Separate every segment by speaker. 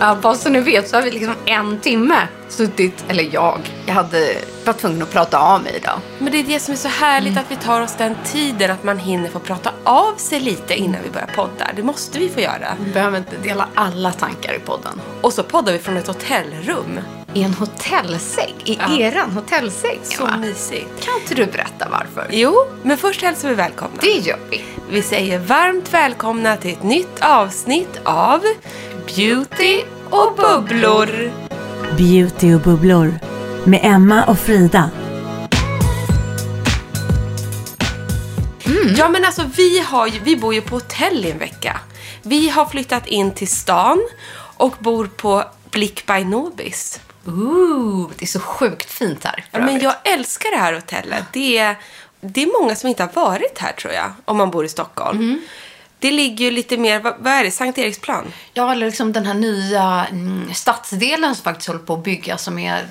Speaker 1: Ja, bara så ni vet så har vi liksom en timme suttit, eller jag, jag hade varit tvungen att prata av mig idag.
Speaker 2: Men det är det som är så härligt att vi tar oss den tiden att man hinner få prata av sig lite innan vi börjar podda. Det måste vi få göra.
Speaker 1: Vi behöver inte dela alla tankar i podden.
Speaker 2: Och så poddar vi från ett hotellrum.
Speaker 1: I en hotellsäng, i eran hotellsäng.
Speaker 2: Så
Speaker 1: va?
Speaker 2: mysigt.
Speaker 1: Kan inte du berätta varför?
Speaker 2: Jo, men först hälsar vi välkomna.
Speaker 1: Det gör vi.
Speaker 2: Vi säger varmt välkomna till ett nytt avsnitt av Beauty och bubblor.
Speaker 3: Beauty och bubblor med Emma och Frida.
Speaker 2: Ja men alltså vi, har ju, vi bor ju på hotell i en vecka. Vi har flyttat in till stan och bor på Blick by Nobis.
Speaker 1: Ooh, det är så sjukt fint här. för
Speaker 2: Ja, men
Speaker 1: övrigt.
Speaker 2: jag älskar det här hotellet. Det är, det är många som inte har varit här tror jag, om man bor i Stockholm.
Speaker 1: Mm.
Speaker 2: Det ligger ju lite mer, vad, vad är det, Sankt Eriksplan?
Speaker 1: Ja, eller liksom den här nya mm, stadsdelen som faktiskt håller på att bygga som är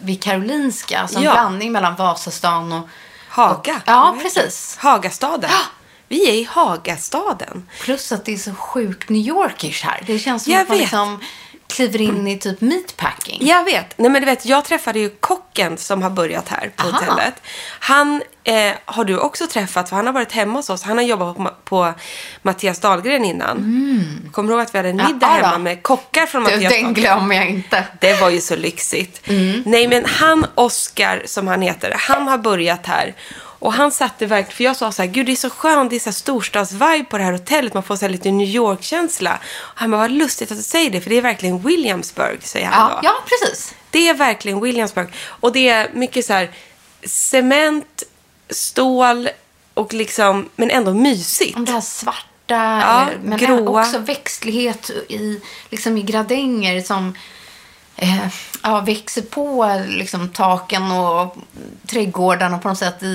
Speaker 1: vid Karolinska. Alltså en
Speaker 2: Ja.
Speaker 1: blandning mellan Vasastan och...
Speaker 2: Haga?
Speaker 1: Och, ja,
Speaker 2: Vad heter
Speaker 1: precis.
Speaker 2: det? Hagastaden. Vi är i Hagastaden.
Speaker 1: Plus att det är så sjukt New Yorkish här. Det känns som
Speaker 2: Jag
Speaker 1: att man
Speaker 2: vet.
Speaker 1: liksom kliver in i typ meatpacking.
Speaker 2: Jag vet. Nej, men du vet, jag träffade ju kocken som har börjat här på
Speaker 1: Aha.
Speaker 2: hotellet. Han eh, har du också träffat, för han har varit hemma hos oss. Han har jobbat på, Ma- på Mattias Dahlgren innan. Kommer du ihåg att vi hade en middag
Speaker 1: Mm. Ja, ja.
Speaker 2: hemma med kockar från
Speaker 1: Du,
Speaker 2: Mattias
Speaker 1: den
Speaker 2: Dahlgren?
Speaker 1: glömmer jag inte.
Speaker 2: Det var ju så lyxigt.
Speaker 1: Mm.
Speaker 2: Nej, men han Oscar, som han heter, han har börjat här. Och han satte verkligen, för jag sa så här, gud det är så skönt, det är så här storstadsvibe på det här hotellet, man får så här lite New York-känsla. Och Han bara, vad lustigt att du säger det, för det är verkligen Williamsburg, säger han
Speaker 1: Ja,
Speaker 2: då.
Speaker 1: ja precis.
Speaker 2: Det är verkligen Williamsburg. Och det är mycket så här cement, stål och liksom, men ändå mysigt.
Speaker 1: Om det här svarta,
Speaker 2: Ja,
Speaker 1: eller- men
Speaker 2: gråa.
Speaker 1: också växtlighet i, liksom i gradänger som eh, ja, växer på liksom, taken och trädgårdarna på något sätt i,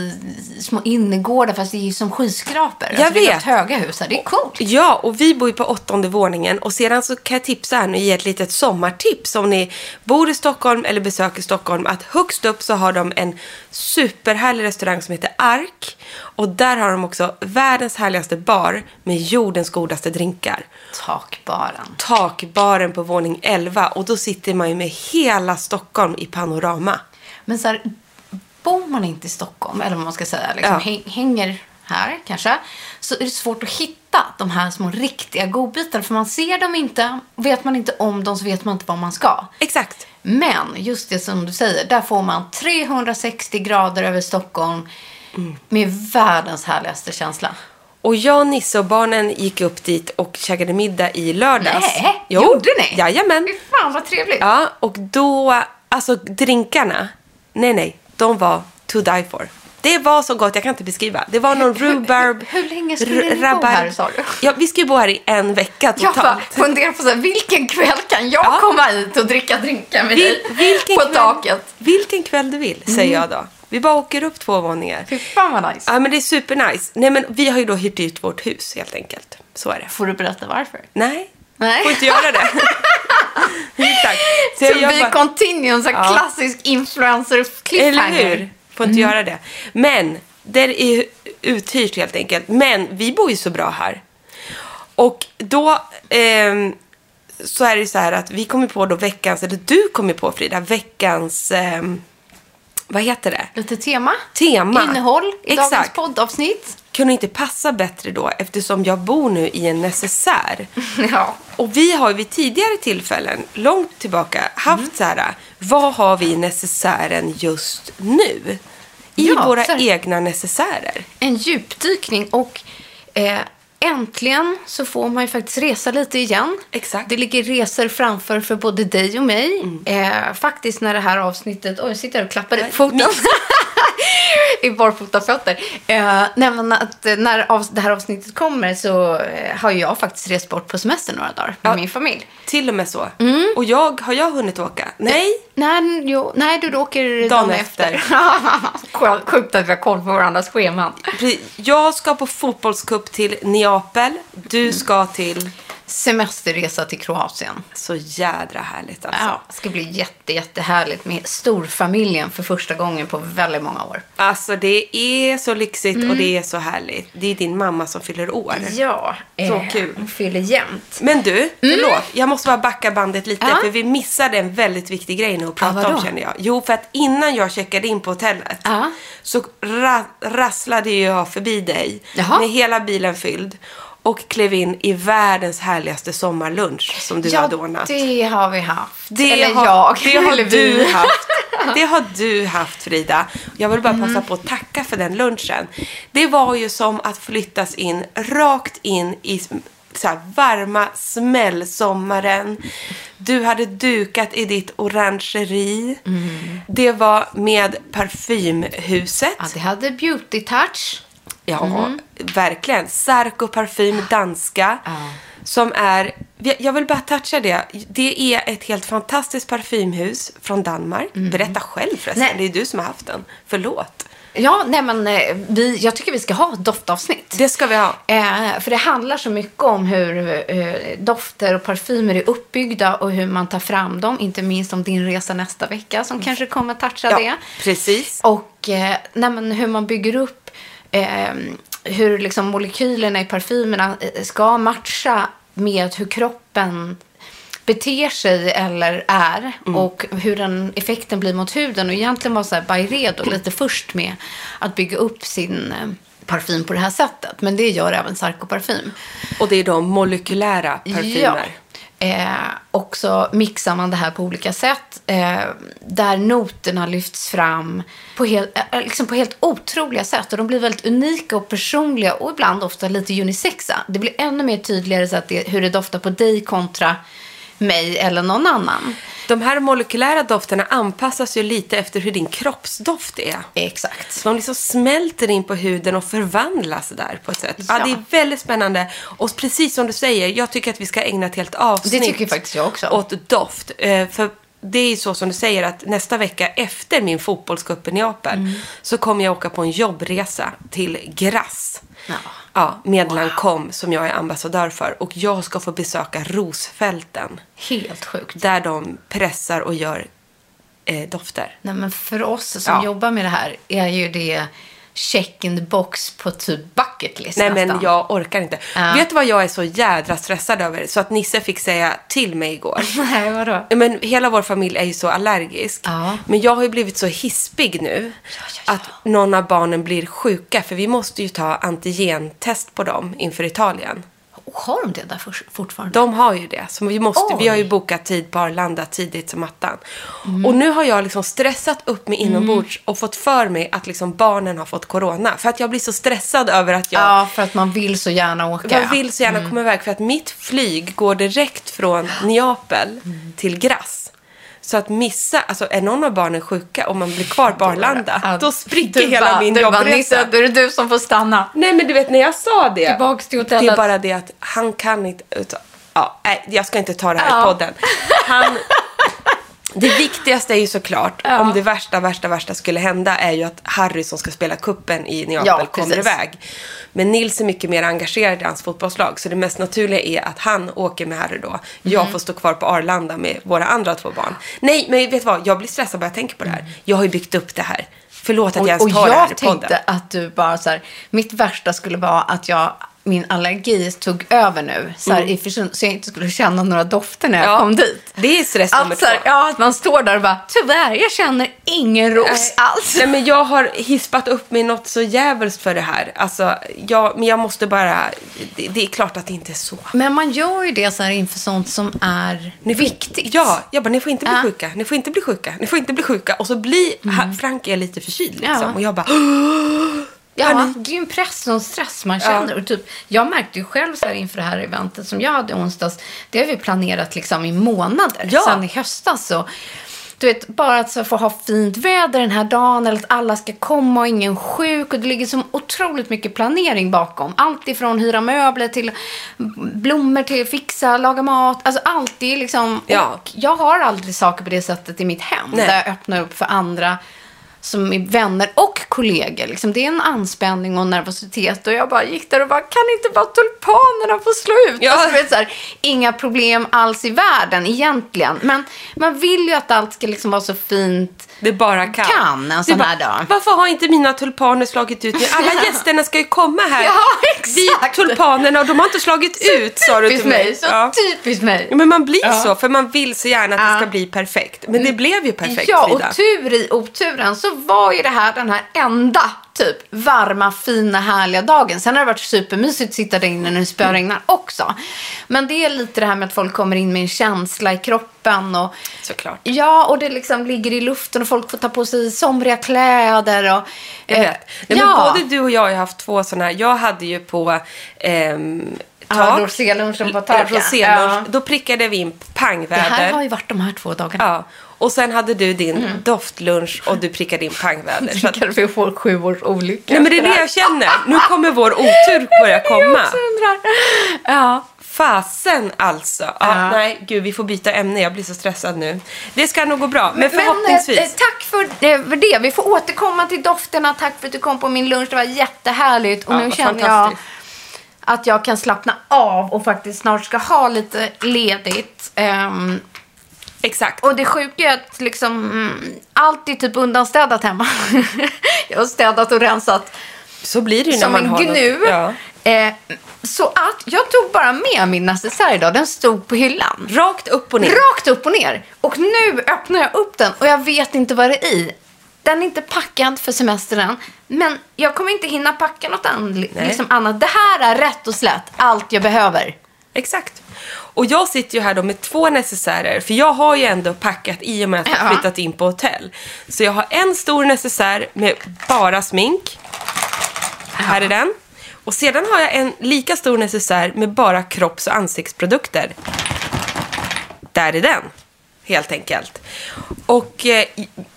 Speaker 1: i små innergårdar fast det är ju som skyskrapor. Alltså,
Speaker 2: Jag
Speaker 1: Det är
Speaker 2: vet.
Speaker 1: rätt höga hus här. Det är coolt.
Speaker 2: Ja, och vi bor ju på åttonde våningen och sedan så kan jag tipsa här nu i ett litet sommartips om ni bor i Stockholm eller besöker Stockholm att högst upp så har de en superhärlig restaurang som heter Ark och där har de också världens härligaste bar med jordens godaste drinkar.
Speaker 1: Takbaren.
Speaker 2: Takbaren på våning 11 och då sitter man ju med hela Stockholm i panorama.
Speaker 1: Men så här, bor man inte i Stockholm, eller vad man ska säga, liksom,
Speaker 2: Ja.
Speaker 1: häng, hänger här kanske, så är det svårt att hitta de här små riktiga godbitarna. För man ser dem inte, vet man inte om dem så vet man inte vad man ska.
Speaker 2: Exakt.
Speaker 1: Men just det som du säger, där får man 360 grader över Stockholm
Speaker 2: Mm.
Speaker 1: med världens härligaste känsla.
Speaker 2: Och jag, Nisse och barnen gick upp dit och käkade middag i lördags.
Speaker 1: Nej, gjorde ni?
Speaker 2: Jajamän.
Speaker 1: Fy fan vad trevligt!
Speaker 2: Ja, och då, alltså drinkarna, nej nej, de var to die for. Det var så gott, jag kan inte beskriva. Det var någon rhubarb.
Speaker 1: hur länge skulle ni bo
Speaker 2: rabarb-
Speaker 1: här, sa du?
Speaker 2: Ja, vi ska ju bo här i en vecka
Speaker 1: Jag
Speaker 2: totalt.
Speaker 1: bara funderar på så här, vilken kväll kan jag
Speaker 2: Ja.
Speaker 1: komma hit och dricka drinkar med
Speaker 2: Vil-
Speaker 1: dig
Speaker 2: vilken
Speaker 1: på
Speaker 2: kväll-
Speaker 1: taket? Mm.
Speaker 2: Vilken kväll du vill, säger jag då. Vi bara åker upp två våningar.
Speaker 1: Fy fan vad nice.
Speaker 2: Ja, men det är supernice. Nej, men vi har ju då hyrt ut vårt hus helt enkelt. Så är det.
Speaker 1: Får du berätta varför?
Speaker 2: Nej,
Speaker 1: Nej.
Speaker 2: får inte göra det. Exakt.
Speaker 1: To
Speaker 2: jag
Speaker 1: be
Speaker 2: bara-
Speaker 1: continued, så här
Speaker 2: Ja.
Speaker 1: klassisk
Speaker 2: Eller
Speaker 1: influencer-cliffhanger.
Speaker 2: hur? Får inte göra det. Men, det är ju uthyrt helt enkelt. Men vi bor ju så bra här. Och då ehm, så är det ju så här att vi kommer på då veckans, eller du kommer på Frida, veckans, ehm, vad heter det?
Speaker 1: Lite tema.
Speaker 2: Tema.
Speaker 1: Innehåll i dagens
Speaker 2: Exakt.
Speaker 1: poddavsnitt.
Speaker 2: Kunde inte passa bättre då eftersom jag bor nu i en necessär.
Speaker 1: Ja.
Speaker 2: Och vi har ju vid tidigare tillfällen, långt tillbaka, haft så här, vad har vi i necessären just nu? I
Speaker 1: Ja,
Speaker 2: våra
Speaker 1: så här-
Speaker 2: egna necessärer.
Speaker 1: En djupdykning och eh, äntligen så får man ju faktiskt resa lite igen.
Speaker 2: Exakt.
Speaker 1: Det ligger resor framför för både dig och mig. Eh, faktiskt när det här avsnittet... Oj, jag sitter här och klappar i foten. I barfota fötter. Eh, nej, men att eh, när av, det här avsnittet kommer så eh, har ju jag faktiskt rest bort på semester några dagar med min familj.
Speaker 2: Till och med så. Och jag, har jag hunnit åka? Nej.
Speaker 1: Nej, jo, nej du åker
Speaker 2: Dagen
Speaker 1: dagen efter. Skönt- Sjukt att vi har koll på varandras scheman.
Speaker 2: Pre- Jag ska på fotbollscup till Neapel. Du ska till...
Speaker 1: Semesterresa till Kroatien.
Speaker 2: Så jädra härligt alltså.
Speaker 1: Ja, det ska bli jätte, jättehärligt med storfamiljen för första gången på väldigt många år.
Speaker 2: Alltså det är så lyxigt och det är så härligt. Det är din mamma som fyller år.
Speaker 1: Ja,
Speaker 2: Så kul.
Speaker 1: Eh, hon fyller jämt.
Speaker 2: Men du, förlåt. Jag måste bara backa bandet lite.
Speaker 1: Mm. Ja.
Speaker 2: För vi missade en väldigt viktig grej nu att prata
Speaker 1: vadå?
Speaker 2: om känner jag. Jo, för att innan jag checkade in på hotellet
Speaker 1: Ja.
Speaker 2: så ra- rasslade ju jag förbi dig
Speaker 1: Jaha.
Speaker 2: med hela bilen fylld. Och klev in i världens härligaste sommarlunch som du hade ordnat.
Speaker 1: det har vi haft.
Speaker 2: Det
Speaker 1: Eller
Speaker 2: har,
Speaker 1: jag.
Speaker 2: Det har
Speaker 1: Eller
Speaker 2: du
Speaker 1: vi.
Speaker 2: haft. Det har du haft Frida. Jag vill bara
Speaker 1: Mm.
Speaker 2: passa på att tacka för den lunchen. Det var ju som att flyttas in rakt in i sm- så här, varma smällsommaren. Du hade dukat i ditt orangeri. Det var med parfymhuset.
Speaker 1: Mm. Ja, det hade beauty touch.
Speaker 2: Ja,
Speaker 1: Mhm.
Speaker 2: verkligen. Sarko parfym,
Speaker 1: Ah.
Speaker 2: danska. Som är, jag vill bara toucha det. Det är ett helt fantastiskt parfymhus från Danmark. Berätta själv förresten,
Speaker 1: Mhm. Nej.
Speaker 2: det är du som har haft den. Förlåt.
Speaker 1: Ja, nej men eh, vi, jag tycker vi ska ha ett doftavsnitt.
Speaker 2: Det ska vi ha.
Speaker 1: Eh, för det handlar så mycket om hur eh, dofter och parfymer är uppbyggda och hur man tar fram dem. Inte minst om din resa nästa vecka som kanske kommer toucha
Speaker 2: Mm. Ja,
Speaker 1: det.
Speaker 2: precis.
Speaker 1: Och eh, nej, men hur man bygger upp eh, hur liksom molekylerna i parfymerna eh, ska matcha med hur kroppen beter sig eller är och hur den effekten blir mot huden. Och egentligen var så här Byredo lite först med att bygga upp sin eh, parfym på det här sättet. Men det gör även Sarko Parfym.
Speaker 2: Och det är de molekylära parfymer.
Speaker 1: Ja. Eh, och så mixar man det här på olika sätt. Eh, där noterna lyfts fram på helt, eh, liksom på helt otroliga sätt. Och de blir väldigt unika och personliga och ibland ofta lite unisexa. Det blir ännu mer tydligare så att det, hur det doftar på dig kontra mig eller någon annan.
Speaker 2: De här molekylära dofterna anpassas ju lite efter hur din kroppsdoft är.
Speaker 1: Exakt.
Speaker 2: De liksom smälter in på huden och förvandlas där på ett sätt. Ja.
Speaker 1: Ja.
Speaker 2: det är väldigt spännande. Och precis som du säger, jag tycker att vi ska ägna ett helt avsnitt
Speaker 1: Det tycker faktiskt jag också.
Speaker 2: åt doft. Eh, För det är ju så som du säger att nästa vecka efter min fotbollscup i Neapel
Speaker 1: Mm.
Speaker 2: så kommer jag åka på en jobbresa till Grass.
Speaker 1: Ja.
Speaker 2: Ja, med Lancôme som jag är ambassadör för. Och jag ska få besöka Rosfälten.
Speaker 1: Helt sjukt.
Speaker 2: Där de pressar och gör eh, dofter.
Speaker 1: Nej, men för oss som
Speaker 2: Ja.
Speaker 1: jobbar med det här är ju det check in the box på typ bucket list
Speaker 2: Nej
Speaker 1: nästan.
Speaker 2: men jag orkar inte.
Speaker 1: Ja.
Speaker 2: Vet du vad jag är så jädra stressad över? Så att Nisse fick säga till mig igår.
Speaker 1: Nej, vadå?
Speaker 2: Men hela vår familj är ju så allergisk.
Speaker 1: Ja.
Speaker 2: Men jag har ju blivit så hispig nu.
Speaker 1: ja, ja.
Speaker 2: Att någon av barnen blir sjuka. För vi måste ju ta antigentest på dem inför Italien.
Speaker 1: Har de det där för, fortfarande?
Speaker 2: De har ju det. Så vi, måste,
Speaker 1: Oj. Mm.
Speaker 2: vi har ju bokat tid på Arlanda tidigt som attan. Och nu har jag liksom stressat upp mig inombords och fått för mig att liksom barnen har fått corona. För att jag blir så stressad över att jag
Speaker 1: Ja, för att man vill så gärna åka. Mm.
Speaker 2: Jag vill så gärna
Speaker 1: Mm.
Speaker 2: komma iväg för att mitt flyg går direkt från Neapel till Grass. Så att missa, alltså är någon av barnen sjuka och man blir kvar på Arlanda,
Speaker 1: Ja,
Speaker 2: då spricker
Speaker 1: du
Speaker 2: hela
Speaker 1: bara-
Speaker 2: min
Speaker 1: du bara,
Speaker 2: jobbresa.
Speaker 1: Nisse, då är det du som får stanna.
Speaker 2: Nej men du vet när jag sa det.
Speaker 1: Tillbaks till
Speaker 2: Det är
Speaker 1: hotellet.
Speaker 2: bara det att han kan inte. Utan, ja, nej, jag ska inte ta det här
Speaker 1: Ja.
Speaker 2: i podden. Han, det viktigaste är ju såklart, om det värsta, värsta, värsta skulle hända, är ju att Harry som ska spela kuppen i Neapel
Speaker 1: Ja,
Speaker 2: kommer
Speaker 1: precis.
Speaker 2: iväg. Men Nils är mycket mer engagerad i hans fotbollslag, så det mest naturliga är att han åker med Harry då. Jag
Speaker 1: Mm.
Speaker 2: får stå kvar på Arlanda med våra andra två barn. Nej, men vet du vad? Jag blir stressad bara jag tänker på det här. Jag har ju byggt upp det här. Förlåt att jag ens
Speaker 1: och
Speaker 2: tar det här
Speaker 1: jag
Speaker 2: i podden.
Speaker 1: tänkte att du bara så här, mitt värsta skulle vara att jag, min allergi tog över nu. Så, här, i försyn- så jag inte skulle känna några dofter när jag
Speaker 2: Mm. Ja,
Speaker 1: kom dit.
Speaker 2: det är stress
Speaker 1: Att
Speaker 2: nummer
Speaker 1: så här,
Speaker 2: två.
Speaker 1: Ja, att man står där och bara, tyvärr, jag känner ingen ros alls.
Speaker 2: Nej, men jag har hispat upp mig något så jävligt för det här. Alltså, jag, men jag måste bara... Det, det är klart att det inte är så.
Speaker 1: Men man gör ju det så här inför sånt som är viktigt.
Speaker 2: Ja, jag bara, ni får inte bli
Speaker 1: Ja. Mm.
Speaker 2: sjuka, ni får inte bli sjuka, ni får inte bli sjuka. Och så blir ha, Frank är lite förkyld liksom.
Speaker 1: Ja.
Speaker 2: Och jag bara,
Speaker 1: Ja, det är ju en press och en stress man känner. Och typ, jag märkte ju själv så här inför det här eventet som jag hade i onsdags. Det har vi planerat liksom i månader,
Speaker 2: Ja.
Speaker 1: sen i höstas. Så, du vet, bara att så få ha fint väder den här dagen eller att alla ska komma och ingen är sjuk. Och det ligger så otroligt mycket planering bakom. Allt ifrån hyra möbler till blommor till fixa, laga mat. Alltså allt det är liksom...
Speaker 2: Ja.
Speaker 1: Och jag har aldrig saker på det sättet i mitt hem.
Speaker 2: Nej.
Speaker 1: Där jag öppnar upp för andra som är vänner och kollegor. Liksom, det är en anspänning och nervositet. Och jag bara gick där och bara, kan inte bara tulpanerna få slå ut?
Speaker 2: Ja.
Speaker 1: Alltså, du vet, så här, inga problem alls i världen egentligen. Men man vill ju att allt ska liksom vara så fint.
Speaker 2: det bara kan.
Speaker 1: Kan en
Speaker 2: Det
Speaker 1: sån
Speaker 2: bara,
Speaker 1: här dag.
Speaker 2: Varför har inte mina tulpaner slagit ut? nu? Alla gästerna ska ju komma här.
Speaker 1: Ja,
Speaker 2: Vi
Speaker 1: exakt.
Speaker 2: tulpanerna och de har inte slagit ut, sa du
Speaker 1: Typiskt
Speaker 2: till
Speaker 1: mig.
Speaker 2: mig.
Speaker 1: Så
Speaker 2: Ja.
Speaker 1: typiskt mig.
Speaker 2: Ja, Men man blir så, för man vill så gärna att
Speaker 1: Ja. Mm.
Speaker 2: det ska bli perfekt. Men det blev ju perfekt,
Speaker 1: Ja,
Speaker 2: Frida.
Speaker 1: och tur i oturen så var ju det här den här enda typ varma, fina, härliga dagen. Sen har det varit supermysigt att sitta där inne när det spöregnar också. Men det är lite det här med att folk kommer in med en känsla i kroppen och
Speaker 2: Såklart.
Speaker 1: Ja, och det liksom ligger i luften och folk får ta på sig somriga kläder och...
Speaker 2: Jag
Speaker 1: eh,
Speaker 2: vet. Nej,
Speaker 1: ja.
Speaker 2: men både du och jag har ju haft två sådana här. Jag hade ju på ehm,
Speaker 1: Ja,
Speaker 2: tak.
Speaker 1: rosélunchen på
Speaker 2: Eh,
Speaker 1: tak, ja.
Speaker 2: Rosélunch.
Speaker 1: Ja.
Speaker 2: Då prickade vi in
Speaker 1: Det här har
Speaker 2: pangväder.
Speaker 1: ju Mm. varit de här två dagarna.
Speaker 2: Ja. Och sen hade du din doftlunch och du prickade in pangväder. Så
Speaker 1: Ja.
Speaker 2: att,
Speaker 1: Kanske vi får sju års olycka.
Speaker 2: nej men det är
Speaker 1: efter
Speaker 2: det
Speaker 1: här.
Speaker 2: jag känner. Nu kommer vår otur börja komma.
Speaker 1: Jag också undrar. Ja.
Speaker 2: Fasen alltså. Ja,
Speaker 1: Ja.
Speaker 2: Nej, gud vi får byta ämne. Jag blir så stressad nu. Det ska nog gå bra. Men,
Speaker 1: Men,
Speaker 2: förhoppningsvis.
Speaker 1: eh, tack för, eh, för det. Vi får återkomma till dofterna. Tack för att du kom på min lunch. Det var jättehärligt. Och
Speaker 2: Ja,
Speaker 1: nu
Speaker 2: vad
Speaker 1: känner jag
Speaker 2: fantastiskt.
Speaker 1: att jag kan slappna av och faktiskt snart ska ha lite ledigt. Ehm,
Speaker 2: Exakt.
Speaker 1: och det sjuka är att liksom, mm, allt är typ undanstädat hemma. jag har städat och rensat
Speaker 2: så blir det ju när
Speaker 1: som
Speaker 2: man
Speaker 1: en
Speaker 2: har
Speaker 1: gnu.
Speaker 2: Något. Ja.
Speaker 1: Eh, så att jag tog bara med min necessär idag. Den stod på hyllan.
Speaker 2: Rakt upp och ner.
Speaker 1: Rakt upp och ner. Och nu öppnar jag upp den och jag vet inte vad det är i. Den är inte packad för semestern än, men jag kommer inte hinna packa något an-
Speaker 2: Nej.
Speaker 1: liksom annat. Det här är rätt och slätt allt jag behöver.
Speaker 2: Exakt. Och jag sitter ju här då med två necessärer, för jag har ju ändå packat i och med att jag
Speaker 1: Ja.
Speaker 2: flyttat in på hotell. Så jag har en stor necessär med bara smink. Här är den. Och sedan har jag en lika stor necessär med bara kropps och ansiktsprodukter. Där är den, helt enkelt. Och eh,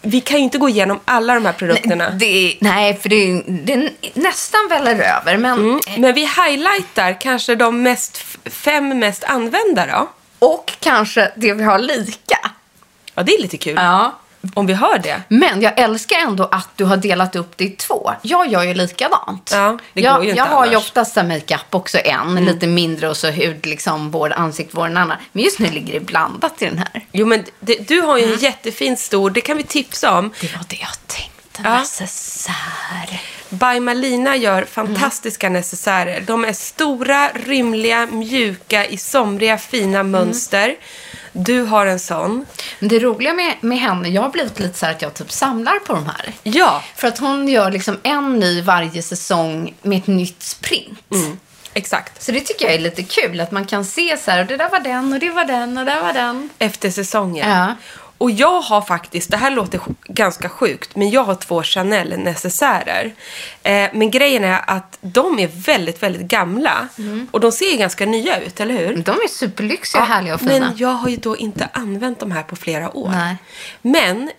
Speaker 2: vi kan ju inte gå igenom alla de här produkterna.
Speaker 1: Nej, det, nej, för det, är- det är nästan väller över, men...
Speaker 2: Men vi highlightar kanske de mest, fem mest använda då.
Speaker 1: Och kanske det vi har lika.
Speaker 2: Ja, det är lite kul.
Speaker 1: Ja.
Speaker 2: Om vi hör det.
Speaker 1: Men jag älskar ändå att du har delat upp det i två. Jag gör ju likadant.
Speaker 2: Ja, det
Speaker 1: jag
Speaker 2: går ju inte
Speaker 1: jag har ju Mm.
Speaker 2: annars.
Speaker 1: oftast en makeup också en, lite mindre och så hud, liksom vår ansiktsvård en annan. Men just nu ligger det blandat i den här.
Speaker 2: Jo, men det, du har ju en jättefin stor, det kan vi tipsa om.
Speaker 1: Det var det jag tänkte. Alltså,
Speaker 2: Ja.
Speaker 1: Necessär.
Speaker 2: By Malina gör fantastiska necessärer. De är stora, rymliga, mjuka, i somriga, fina mönster. Du har en sån.
Speaker 1: Men det roliga med, med henne, jag har blivit lite så här att jag typ samlar på de här.
Speaker 2: Ja,
Speaker 1: För att hon gör liksom en ny varje säsong med ett nytt sprint.
Speaker 2: exakt.
Speaker 1: Så det tycker jag är lite kul, att man kan se så här, och det där var den och det var den och det där var den.
Speaker 2: Efter säsongen.
Speaker 1: Ja.
Speaker 2: Och jag har faktiskt, det här låter sj- ganska sjukt, men jag har två Chanel-necessärer. Eh, men grejen är att de är väldigt, väldigt gamla. Och de ser ju ganska nya ut, eller hur?
Speaker 1: De är superlyxiga, härliga och fina.
Speaker 2: Men jag har ju då inte använt de här på flera år.
Speaker 1: Nej.
Speaker 2: Men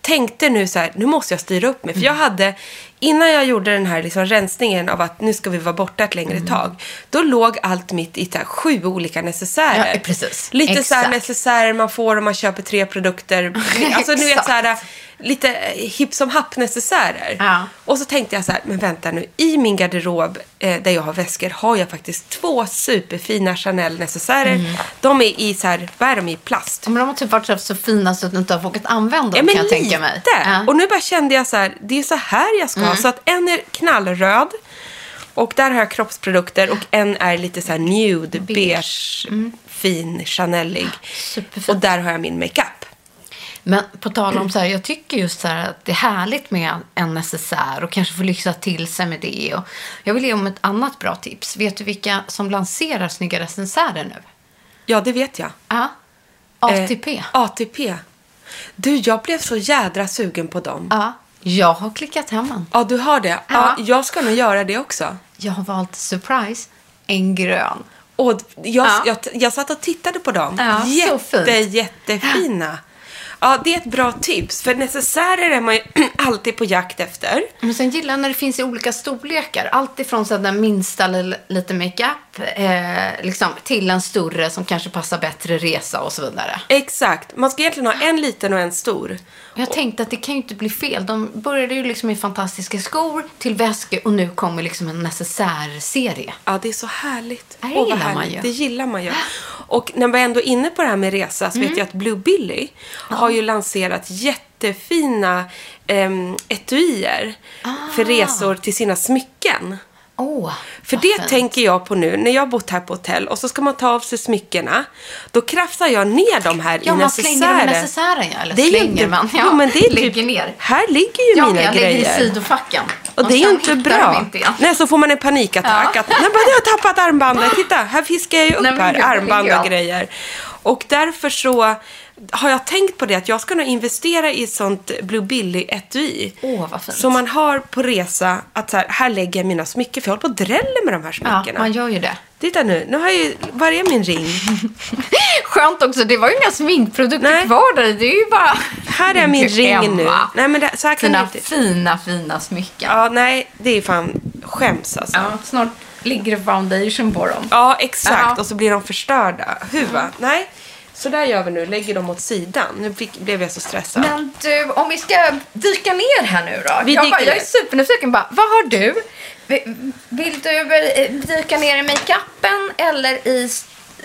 Speaker 2: tänkte nu så här, nu måste jag styra upp mig. För
Speaker 1: Mm.
Speaker 2: jag hade, innan jag gjorde den här liksom rensningen av att nu ska vi vara borta ett
Speaker 1: Mm.
Speaker 2: längre tag. Då låg allt mitt i så här, sju olika necessärer.
Speaker 1: Ja, precis.
Speaker 2: Lite så här
Speaker 1: Exakt.
Speaker 2: necessärer man får om man köper tre produkter. alltså nu vet
Speaker 1: Exakt.
Speaker 2: så här, lite hipp som happ necessärer.
Speaker 1: Ja.
Speaker 2: Och så tänkte jag så här, men vänta nu, i min garderob eh, där jag har väskor har jag faktiskt två superfina Chanel-necessärer.
Speaker 1: Mm.
Speaker 2: De är i så här, vad är de i? Plast?
Speaker 1: Men de har typ varit så- så fina så att du inte har vågat använda dem
Speaker 2: Ja, men
Speaker 1: kan jag
Speaker 2: lite.
Speaker 1: tänka mig. Mm.
Speaker 2: Och nu bara kände jag så här, det är så här jag ska ha. Så att en är knallröd och där har jag kroppsprodukter och en är lite så här nude, beige,
Speaker 1: Mm.
Speaker 2: fin, Chanelig.
Speaker 1: Superfin.
Speaker 2: Och där har jag min makeup.
Speaker 1: Men på tal om så här, jag tycker just så här att det är härligt med en necessär och kanske få lyxa till sig med det. Och jag vill ge om ett annat bra tips. Vet du vilka som lanserar snygga necessärer nu?
Speaker 2: Ja, det vet jag.
Speaker 1: Ja. ATP.
Speaker 2: Eh, ATP. Du, jag blev så jädra sugen på dem.
Speaker 1: Ja. Jag har klickat hem en.
Speaker 2: Ja, du har det. Ja.
Speaker 1: Ja.
Speaker 2: jag ska nog göra det också.
Speaker 1: Jag har valt surprise, en grön.
Speaker 2: Och jag,
Speaker 1: Ja.
Speaker 2: jag, jag satt och tittade på dem.
Speaker 1: Ja, så
Speaker 2: Jätte,
Speaker 1: fint.
Speaker 2: jättefina. Ja, det är ett bra tips. För necessärer är man ju alltid på jakt efter.
Speaker 1: Men sen gillar jag när det finns i olika storlekar. Allt ifrån så här den minsta li- lite makeup eh, liksom, till en större som kanske passar bättre resa och så vidare.
Speaker 2: Exakt. Man ska egentligen ha en liten och en stor.
Speaker 1: Jag tänkte att det kan ju inte bli fel. De började ju liksom i fantastiska skor till väskor och nu kommer liksom en necessärserie.
Speaker 2: Ja, det är så härligt.
Speaker 1: Ja, det
Speaker 2: Åh, vad
Speaker 1: gillar man
Speaker 2: härligt.
Speaker 1: ju.
Speaker 2: Det gillar man ju. Och när vi ändå är inne på det här med resa så
Speaker 1: Mm.
Speaker 2: vet jag att Blue Billy har ju lanserat jättefina ehm, etuier
Speaker 1: Ah.
Speaker 2: för resor till sina smycken.
Speaker 1: Åh,
Speaker 2: För
Speaker 1: vad
Speaker 2: det
Speaker 1: fint.
Speaker 2: tänker jag på nu, när jag har bott här på hotell och så ska man ta av sig smyckena. Då krafsar jag ner de här
Speaker 1: Ja,
Speaker 2: i
Speaker 1: man slänger dem i
Speaker 2: necessären.
Speaker 1: necessären, ja. Eller
Speaker 2: Det är ju
Speaker 1: slänger
Speaker 2: inte-
Speaker 1: man. Ja,
Speaker 2: Jo, men det är typ-
Speaker 1: ligger ner.
Speaker 2: Här ligger ju
Speaker 1: ja,
Speaker 2: mina
Speaker 1: jag
Speaker 2: grejer.
Speaker 1: ligger i sidofacken.
Speaker 2: Och det är ju
Speaker 1: sen
Speaker 2: inte
Speaker 1: hittar
Speaker 2: bra.
Speaker 1: de Inte igen.
Speaker 2: Nej, så får man en panikattack.
Speaker 1: Ja.
Speaker 2: Att, nej, men jag har tappat armbandet. Titta, här fiskar jag ju upp
Speaker 1: Nej, men
Speaker 2: här.
Speaker 1: gud,
Speaker 2: armband
Speaker 1: ja.
Speaker 2: och grejer. Och därför så har jag tänkt på det att jag ska nog investera i ett sånt Blue Billy-etui.
Speaker 1: Åh, vad fint.
Speaker 2: Så man har på resa att så här, här lägger jag mina smycken. För jag håller på och dräller med de här
Speaker 1: Ja,
Speaker 2: smyckena.
Speaker 1: man gör ju det.
Speaker 2: Titta nu, nu har jag ju, var är min ring?
Speaker 1: Skönt också, det var ju inga sminkprodukter
Speaker 2: Nej.
Speaker 1: kvar där. Det är ju bara...
Speaker 2: Här är min
Speaker 1: Gud,
Speaker 2: ring
Speaker 1: Emma.
Speaker 2: nu. Nej men det, så här kan
Speaker 1: Dina
Speaker 2: jag inte...
Speaker 1: fina, fina smycken.
Speaker 2: Ja, nej, det är fan skäms alltså. Ja,
Speaker 1: Ja, snart ligger det foundation på dem.
Speaker 2: exakt.
Speaker 1: Ja.
Speaker 2: Och så blir de förstörda. Huva. Nej, så där gör vi nu. Lägger dem åt sidan. Nu fick, blev jag så stressad.
Speaker 1: Men du, om vi ska dyka ner här nu då.
Speaker 2: Vi
Speaker 1: jag,
Speaker 2: dyker
Speaker 1: bara, jag är
Speaker 2: ner.
Speaker 1: supernyfiken. Bara, vad har du? Vi- Vill du eh, dyka ner i makeupen eller i,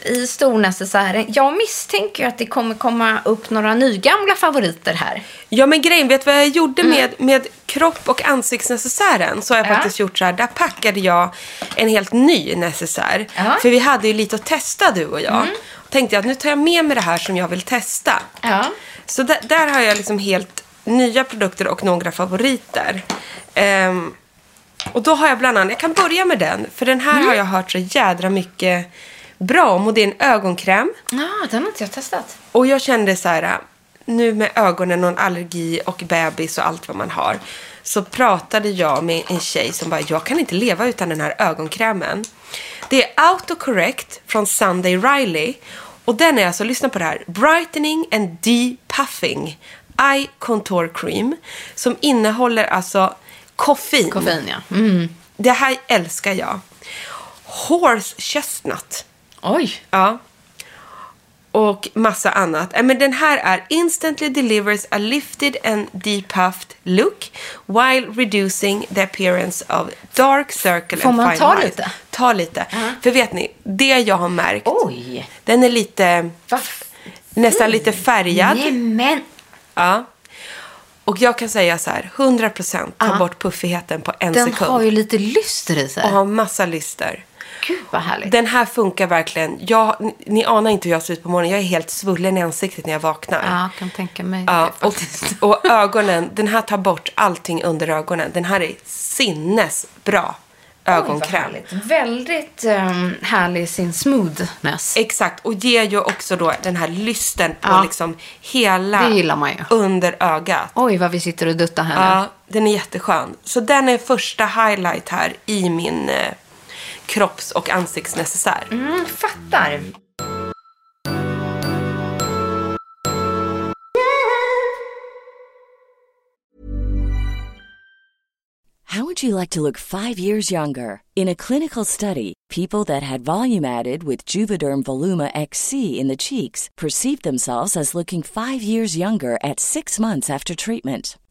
Speaker 1: i stornecessären? Jag misstänker ju att det kommer komma upp några nygamla favoriter här.
Speaker 2: Ja, men grejen, vet du vad jag gjorde med, med kropp och ansiktsnecessären? Så har jag
Speaker 1: Mm. Ja.
Speaker 2: faktiskt gjort så här. Där packade jag en helt ny necessär.
Speaker 1: Ja. Mm.
Speaker 2: För vi hade ju lite att testa du och jag. Tänkte jag att nu tar jag med mig det här som jag vill testa.
Speaker 1: Ja.
Speaker 2: Så där, där har jag liksom helt nya produkter och några favoriter. Ehm, och då har jag bland annat, jag kan börja med den, för den här
Speaker 1: Mm.
Speaker 2: har jag hört så jädra mycket bra om och det är en ögonkräm.
Speaker 1: ah, den har inte jag testat.
Speaker 2: Och jag kände så här, nu med ögonen och en allergi och bebis och allt vad man har. Så pratade jag med en tjej som bara, jag kan inte leva utan den här ögonkrämen. Det är autocorrect från Sunday Riley. Och den är alltså, lyssna på det här, brightening and depuffing eye contour cream. Som innehåller alltså koffein.
Speaker 1: Koffein, ja.
Speaker 2: Mm. Det här älskar jag. Horse chestnut.
Speaker 1: Oj.
Speaker 2: Ja. Och massa annat. Äh, Men den här är instantly delivers a lifted and depuffed look while reducing the appearance of dark circle
Speaker 1: Får
Speaker 2: and
Speaker 1: man
Speaker 2: fine
Speaker 1: ta
Speaker 2: lines.
Speaker 1: lite?
Speaker 2: Ta lite. För vet ni, det jag har märkt,
Speaker 1: Oj.
Speaker 2: den är lite,
Speaker 1: Vad
Speaker 2: nästan lite färgad.
Speaker 1: Nej, men.
Speaker 2: Ja. Och jag kan säga så här, 100% ta bort puffigheten på en
Speaker 1: Den
Speaker 2: sekund.
Speaker 1: har ju lite lyster i sig.
Speaker 2: Och har massa lyster.
Speaker 1: Gud, vad härligt.
Speaker 2: Den här funkar verkligen. Jag, ni, ni anar inte hur jag ser ut på morgonen. Jag är helt svullen i ansiktet när jag vaknar.
Speaker 1: Ja, kan tänka mig
Speaker 2: Ja,
Speaker 1: det
Speaker 2: och,
Speaker 1: faktiskt.
Speaker 2: och ögonen, den här tar bort allting under ögonen. Den här är sinnesbra.
Speaker 1: Oj, vad
Speaker 2: ögonkräm.
Speaker 1: härligt. Väldigt ehm, härlig i sin smoothness.
Speaker 2: Exakt, och ger ju också då den här lysten på
Speaker 1: Ja.
Speaker 2: liksom hela
Speaker 1: Det gillar man ju.
Speaker 2: under ögat.
Speaker 1: Oj, vad vi sitter och duttar här nu.
Speaker 2: Ja, den är jätteskön. Så den är första highlight här i min eh, kropps och ansiktsnecessär.
Speaker 1: Mm, fattar.
Speaker 4: How would you like to look five years younger? In a clinical study, people that had volume added with Juvederm Voluma XC in the cheeks perceived themselves as looking five years younger at six months after treatment.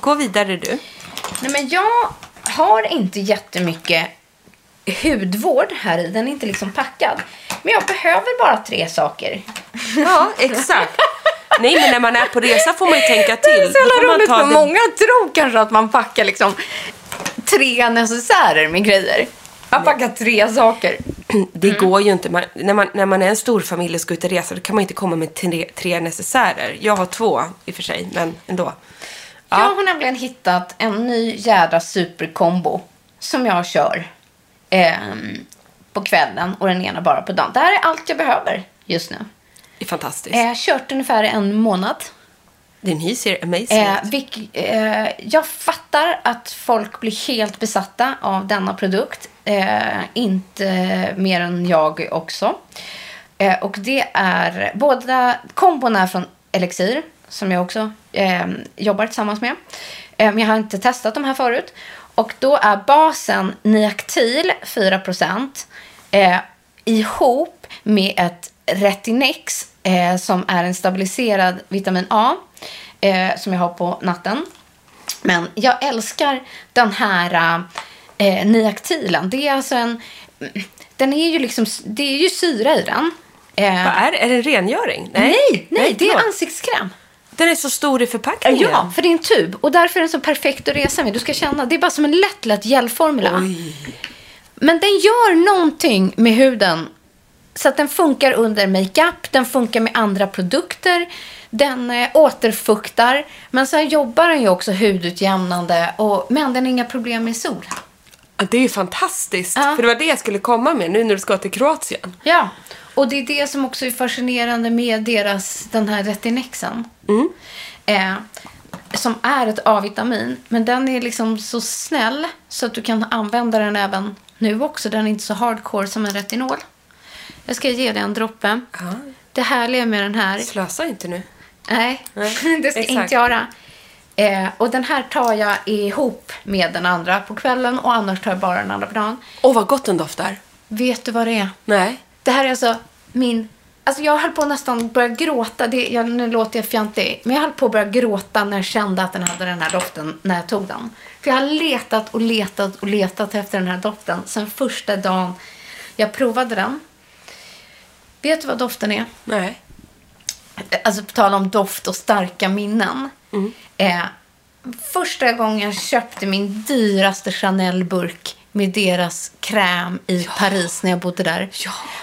Speaker 2: Gå vidare du.
Speaker 1: Nej, men jag har inte jättemycket hudvård här i. Den är inte liksom packad. Men jag behöver bara tre saker.
Speaker 2: Ja, exakt. Nej, men när man är på resa får man ju tänka till.
Speaker 1: Det är så
Speaker 2: Då får
Speaker 1: jävla
Speaker 2: man
Speaker 1: roligt
Speaker 2: ta
Speaker 1: för
Speaker 2: det-
Speaker 1: många tror kanske att man packar liksom tre necessärer med grejer. Jag packar tre saker.
Speaker 2: Det går ju inte. Man, när, man, när man är en stor familj och ska ut och resa då kan man inte komma med tre, tre necessärer. Jag har två i och för sig, men ändå.
Speaker 1: Jag har nämligen hittat en ny jädra superkombo som jag kör ehm, på kvällen och den ena bara på dagen. Det här är allt jag behöver just nu.
Speaker 2: Det är fantastiskt.
Speaker 1: Eh, kört ungefär en månad.
Speaker 2: Din hy ser amazing
Speaker 1: Eh,
Speaker 2: ut.
Speaker 1: vilk, eh, jag fattar att folk blir helt besatta av denna produkt. Eh, inte mer än jag också. Eh, och det är båda kombon är från Elixir som jag också eh, jobbar tillsammans med. Eh, men jag har inte testat de här förut. Och då är basen Niactil 4% eh, ihop med ett Retinex eh, som är en stabiliserad vitamin A eh, som jag har på natten. Men jag älskar den här eh, niaktilen. Det är alltså en... Den är ju liksom... Det är ju syra i den. Eh,
Speaker 2: Vad är det? Är det en rengöring?
Speaker 1: nej, nej, det är
Speaker 2: förlåt.
Speaker 1: ansiktskräm.
Speaker 2: Den är så stor i förpackningen.
Speaker 1: Ja, för det är en tub. Och därför är den så perfekt att resa med. Du ska känna, det är bara som en lätt, lätt gelformula. Men den gör någonting med huden. Så att den funkar under makeup, den funkar med andra produkter, den eh, återfuktar. Men sen jobbar den ju också hudutjämnande. Och, men den har inga problem med sol.
Speaker 2: Ja, Det är ju fantastiskt.
Speaker 1: Ja.
Speaker 2: För det var det jag skulle komma med nu när du ska till Kroatien.
Speaker 1: Ja, och det är det som också är fascinerande med deras, den här retinexen.
Speaker 2: Mm.
Speaker 1: Eh, som är ett A-vitamin, men den är liksom så snäll så att du kan använda den även nu också. Den är inte så hardcore som en retinol. Jag ska ge dig en droppe. Det härliga med den här...
Speaker 2: Slösa inte nu.
Speaker 1: Nej,
Speaker 2: Nej,
Speaker 1: det ska jag
Speaker 2: exakt.
Speaker 1: inte göra. Eh, och den här tar jag ihop med den andra på kvällen och annars tar jag bara den andra på dagen.
Speaker 2: Åh, vad gott den doftar.
Speaker 1: Vet du vad det är?
Speaker 2: Nej.
Speaker 1: Det här är alltså min... Alltså jag höll på att nästan börja gråta. Det, jag, nu låter jag fjantig. Men jag höll på att börja gråta när jag kände att den hade den här doften när jag tog den. För jag har letat och letat och letat efter den här doften sen första dagen jag provade den. Vet du vad doften är?
Speaker 2: Nej.
Speaker 1: Alltså på tal om doft och starka minnen.
Speaker 2: Mm.
Speaker 1: Eh, första gången jag köpte min dyraste Chanel-burk med deras kräm i Paris när jag bodde där.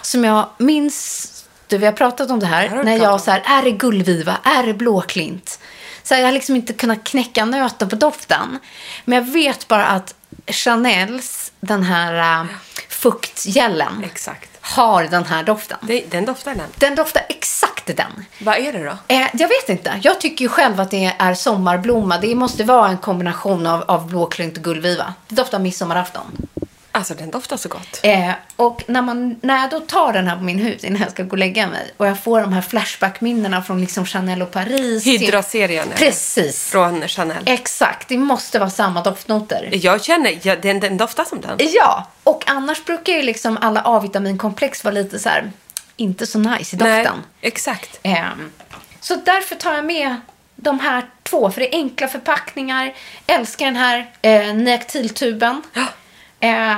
Speaker 1: Som jag minns, du vi har pratat om det här,
Speaker 2: har vi
Speaker 1: när
Speaker 2: pratat
Speaker 1: jag
Speaker 2: om.
Speaker 1: så här, är det gullviva, är det blåklint? Så här, jag har liksom inte kunnat knäcka nöten på doften. Men jag vet bara att Chanels, den här eh, fuktgelen,
Speaker 2: Exakt.
Speaker 1: har den här doften.
Speaker 2: Det, den doftar den.
Speaker 1: Den doftar exakt den.
Speaker 2: Vad är det då?
Speaker 1: Eh, jag vet inte. Jag tycker ju själv att det är sommarblomma. Det måste vara en kombination av, av blåklint och gullviva. Det doftar midsommarafton.
Speaker 2: Alltså, den doftar så gott.
Speaker 1: Eh, och när, man, när jag då tar den här på min hud innan jag ska gå och lägga mig och jag får de här flashback-minnena från liksom Chanel och Paris. till-
Speaker 2: Hydra-serien. är det.
Speaker 1: Precis.
Speaker 2: Från Chanel.
Speaker 1: Exakt. Det måste vara samma doftnoter.
Speaker 2: Jag känner, ja, den, den doftar som den.
Speaker 1: Ja, och annars brukar ju liksom alla A-vitaminkomplex vara lite så här, inte så nice i
Speaker 2: Nej,
Speaker 1: doften.
Speaker 2: exakt.
Speaker 1: Ehm, så därför tar jag med de här två, för det är enkla förpackningar. Älskar den här eh, Neaktiltuben. Eh,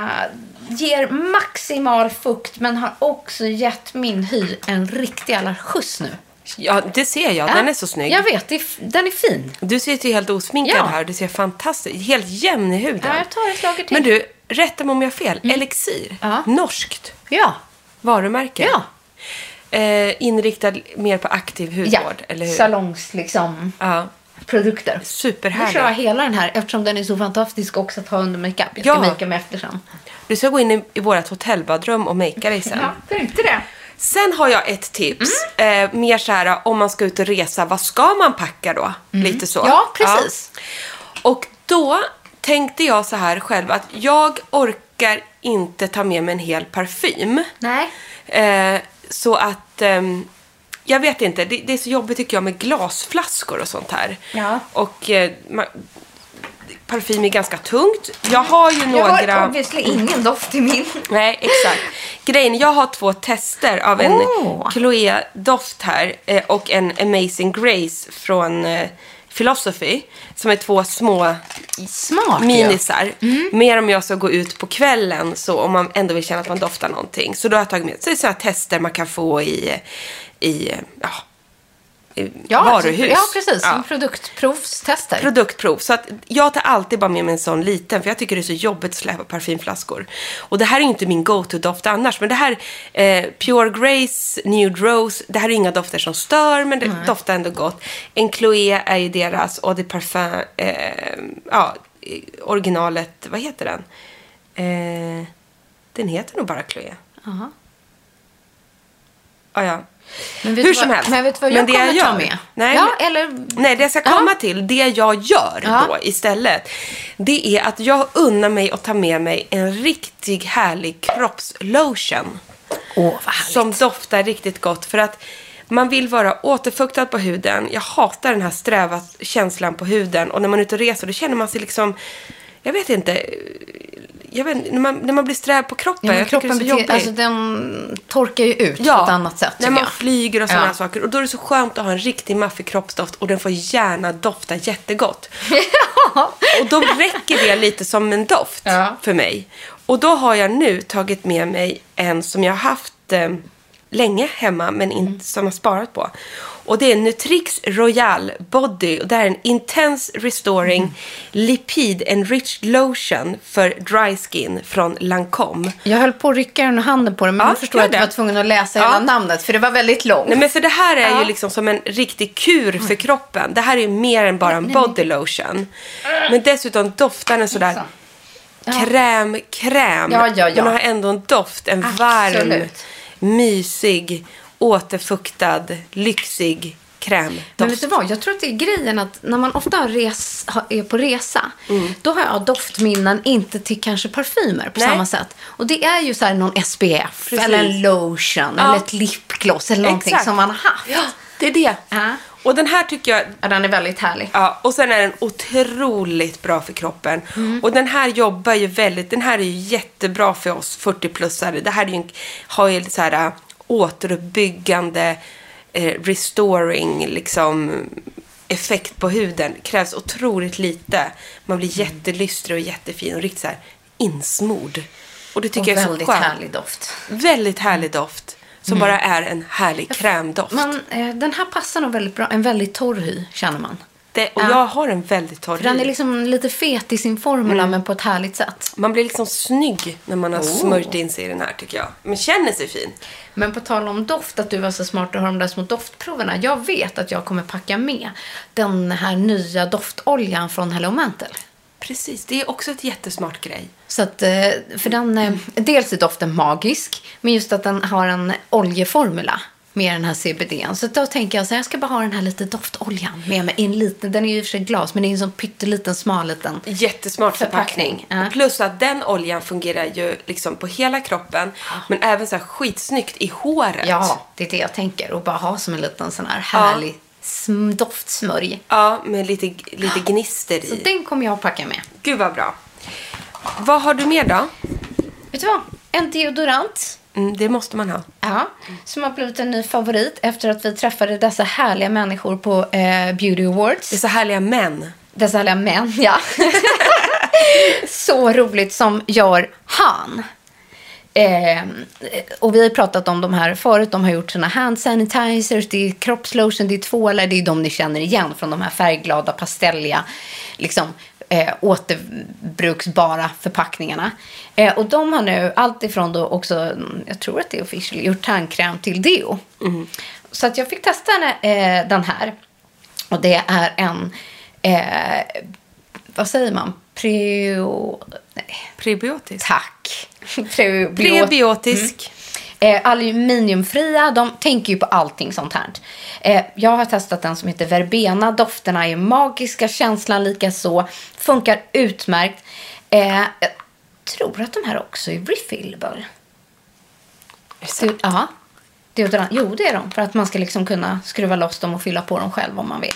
Speaker 1: ger maximal fukt men har också gett min hy en riktig jävla skjuts nu.
Speaker 2: Ja, det ser jag. Den
Speaker 1: Ja,
Speaker 2: är så snygg.
Speaker 1: Jag vet, det är, f- den är fin.
Speaker 2: Du ser ju helt osminkad
Speaker 1: Ja.
Speaker 2: här. Du ser fantastisk Helt jämn i huden.
Speaker 1: Ja, jag tar ett lager till. Mm.
Speaker 2: Men du, rätta mig om jag har fel. Elixir.
Speaker 1: Ja.
Speaker 2: Norskt
Speaker 1: Ja,
Speaker 2: varumärke.
Speaker 1: ja.
Speaker 2: Eh, inriktad mer på aktiv hudvård, eller hur?
Speaker 1: salongs liksom
Speaker 2: Ja.
Speaker 1: produkter. Nu kör jag
Speaker 2: Superhärlig.
Speaker 1: hela den här eftersom den är så fantastisk också att ha under makeup. Jag ska
Speaker 2: Ja.
Speaker 1: makea mig efter sen.
Speaker 2: Du ska gå in i, i vårt hotellbadrum och makea dig sen.
Speaker 1: tänkte det.
Speaker 2: Sen har jag ett tips.
Speaker 1: Mm.
Speaker 2: Eh, mer så här om man ska ut och resa, vad ska man packa då? Lite så.
Speaker 1: Mm. Ja, precis.
Speaker 2: Ja. Och då tänkte jag så här själv att jag orkar inte ta med mig en hel parfym.
Speaker 1: Nej.
Speaker 2: Eh, så att, ehm, jag vet inte, det, det är så jobbigt tycker jag med glasflaskor och sånt här.
Speaker 1: Ja.
Speaker 2: Och eh, ma- parfym är ganska tungt. Jag har ju
Speaker 1: Jag
Speaker 2: några...
Speaker 1: har obviously ingen doft i min.
Speaker 2: Nej, exakt. Grejen, jag har två tester av en
Speaker 1: Åh.
Speaker 2: Chloé doft här eh, och en Amazing Grace från eh, Philosophy. Som är två små
Speaker 1: Smart ju.
Speaker 2: minisar.
Speaker 1: Mm.
Speaker 2: Mer om jag ska gå ut på kvällen så om man ändå vill känna att man doftar någonting. Så då har jag tagit med så det är sådana tester man kan få i, eh, i ja, i
Speaker 1: Ja, typ.
Speaker 2: varuhus.
Speaker 1: Ja, precis.
Speaker 2: Ja.
Speaker 1: Som produktprovstester.
Speaker 2: Produktprov. Så att jag tar alltid bara med mig en sån liten för jag tycker det är så jobbigt att släppa parfymflaskor. Och det här är ju inte min go-to-doft annars. Men det här eh, Pure Grace, Nude Rose, det här är inga dofter som stör men det doftar ändå gott. En Chloé är ju deras Eau de Parfum, eh, ja, eh, originalet, vad heter den? Eh, den heter nog bara Chloé.
Speaker 1: Jaha.
Speaker 2: Ah, ja.
Speaker 1: Men vet
Speaker 2: Hur
Speaker 1: du
Speaker 2: som
Speaker 1: vad-
Speaker 2: helst.
Speaker 1: men vet du vad jag
Speaker 2: det
Speaker 1: kommer ta
Speaker 2: gör-
Speaker 1: med?
Speaker 2: Nej,
Speaker 1: Ja,
Speaker 2: men-
Speaker 1: eller-
Speaker 2: Nej, det jag ska
Speaker 1: Ja.
Speaker 2: komma till, det jag gör
Speaker 1: Ja.
Speaker 2: då istället, det är att jag unnar mig att ta med mig en riktig härlig kroppslotion.
Speaker 1: Åh, vad härligt.
Speaker 2: Som doftar riktigt gott för att man vill vara återfuktad på huden. Jag hatar den här sträva känslan på huden och när man är ute och reser då känner man sig liksom, jag vet inte, jag vet, inte, när, man, när man blir sträv på kroppen.
Speaker 1: Ja, men
Speaker 2: jag tycker det är så
Speaker 1: beter-
Speaker 2: jobbigt.
Speaker 1: alltså, den torkar ju ut på ett annat sätt.
Speaker 2: när
Speaker 1: tycker
Speaker 2: man
Speaker 1: jag.
Speaker 2: flyger och sådana
Speaker 1: Ja.
Speaker 2: saker. Och då är det så skönt att ha en riktig maffig kroppsdoft och den får gärna dofta jättegott. Och då räcker det lite som en doft
Speaker 1: Ja.
Speaker 2: för mig. Och då har jag nu tagit med mig en som jag har haft eh, länge hemma men inte
Speaker 1: Mm.
Speaker 2: som jag har sparat på. Och det är Nutrix Royal Body och det här är en Intense Restoring
Speaker 1: Mm.
Speaker 2: Lipid Enriched Lotion för Dry Skin från Lancome.
Speaker 1: Jag höll på att rycka den ur handen på den, men
Speaker 2: Ja,
Speaker 1: nu förstår
Speaker 2: gör
Speaker 1: jag att jag
Speaker 2: det.
Speaker 1: var tvungen att läsa
Speaker 2: Ja.
Speaker 1: hela namnet, för det var väldigt långt.
Speaker 2: Nej men för det här är
Speaker 1: Ja.
Speaker 2: ju liksom som en riktig kur för kroppen. Det här är ju mer än bara en body lotion. Men dessutom doftar den sådär kräm, kräm.
Speaker 1: Ja, ja, ja.
Speaker 2: Den har ändå en doft, en varm,
Speaker 1: Absolut.
Speaker 2: mysig, återfuktad, lyxig krämdoft.
Speaker 1: Men vet du vad, jag tror att det är grejen att när man ofta har res, har- är på resa, då har jag doftminnen inte till kanske parfymer på
Speaker 2: Mm. Nej.
Speaker 1: samma sätt. Och det är ju så här någon SPF,
Speaker 2: Precis.
Speaker 1: eller en lotion,
Speaker 2: Ja.
Speaker 1: eller ett lipgloss eller någonting
Speaker 2: Exakt.
Speaker 1: som man har haft.
Speaker 2: Ja, det är det.
Speaker 1: Ja.
Speaker 2: Och den här tycker jag,
Speaker 1: Ja, den är väldigt härlig.
Speaker 2: Ja, och sen är den otroligt bra för kroppen.
Speaker 1: Mm.
Speaker 2: Och den här jobbar ju väldigt, den här är ju jättebra för oss 40-plussare. Det här är ju en, har ju så här äh, återuppbyggande, eh, restoring liksom effekt på huden. Krävs otroligt lite. Man blir
Speaker 1: Mm.
Speaker 2: jättelystrig och jättefin och riktigt så här insmord. Och det tycker
Speaker 1: och
Speaker 2: jag är så
Speaker 1: väldigt Mm.
Speaker 2: skönt.
Speaker 1: härlig doft.
Speaker 2: Väldigt härlig doft. Som bara är en härlig krämdoft.
Speaker 1: Men eh, den här passar nog väldigt bra. En väldigt torr hy känner man.
Speaker 2: det, och
Speaker 1: Ja.
Speaker 2: jag har en väldigt torr
Speaker 1: För den
Speaker 2: hy.
Speaker 1: är liksom lite fet i sin formula
Speaker 2: Mm.
Speaker 1: men på ett härligt sätt.
Speaker 2: Man blir liksom snygg när man har smörjt in sig i den här tycker jag. Man känner sig fin.
Speaker 1: Men på tal om doft, att du var så smart och har de där små doftproverna. Jag vet att jag kommer packa med den här nya doftoljan från Hello Mantle.
Speaker 2: Precis, det är också ett jättesmart grej.
Speaker 1: Så att, eh, för den, eh, dels är doften magisk, men just att den har en oljeformula med den här CBDn. Så då tänker jag så här, jag ska bara ha den här lite doftoljan med mig. i En liten, den är ju i och för sig glas, men det är en sån pytteliten, smal liten.
Speaker 2: Jättesmart förpackning.
Speaker 1: Förpackning, ja.
Speaker 2: Plus att den oljan fungerar ju liksom på hela kroppen. Men även så här skitsnyggt i håret.
Speaker 1: Ja, det är det jag tänker. Och bara ha som en liten sån här härlig sm- doftsmörj.
Speaker 2: Ja, med lite, lite gnister
Speaker 1: Så
Speaker 2: i.
Speaker 1: den kommer jag att packa med.
Speaker 2: Gud vad bra. Vad har du mer då?
Speaker 1: Vet du vad? En deodorant.
Speaker 2: Mm, det måste man ha.
Speaker 1: Ja, som har blivit en ny favorit efter att vi träffade dessa härliga människor på eh, Beauty Awards.
Speaker 2: Det är så härliga män.
Speaker 1: Dessa härliga män, ja. så roligt som gör han. Eh, och vi har pratat om de här förut. De har gjort sina hand sanitizers, det är kroppslotion, det är tvålar. Det är de ni känner igen från de här färgglada, pastelliga, liksom, eh, återbruksbara förpackningarna. Eh, och de har nu allt ifrån då också, mm, jag tror att det är official, gjort tandkräm till deo. Så att jag fick testa eh, den här. Och det är en, eh, vad säger man, preo... Nej.
Speaker 2: Prebiotisk.
Speaker 1: Tack. Prebiot-
Speaker 2: Prebiotisk.
Speaker 1: Eh, aluminiumfria, de tänker ju på allting sånt här. Eh, jag har testat den som heter Verbena. Dofterna är magiska, känslan lika så. Funkar utmärkt. Eh, jag tror att de här också är refillable. Du, ja. Deodorant. Jo, det är de. För att man ska liksom kunna skruva loss dem och fylla på dem själv om man vill.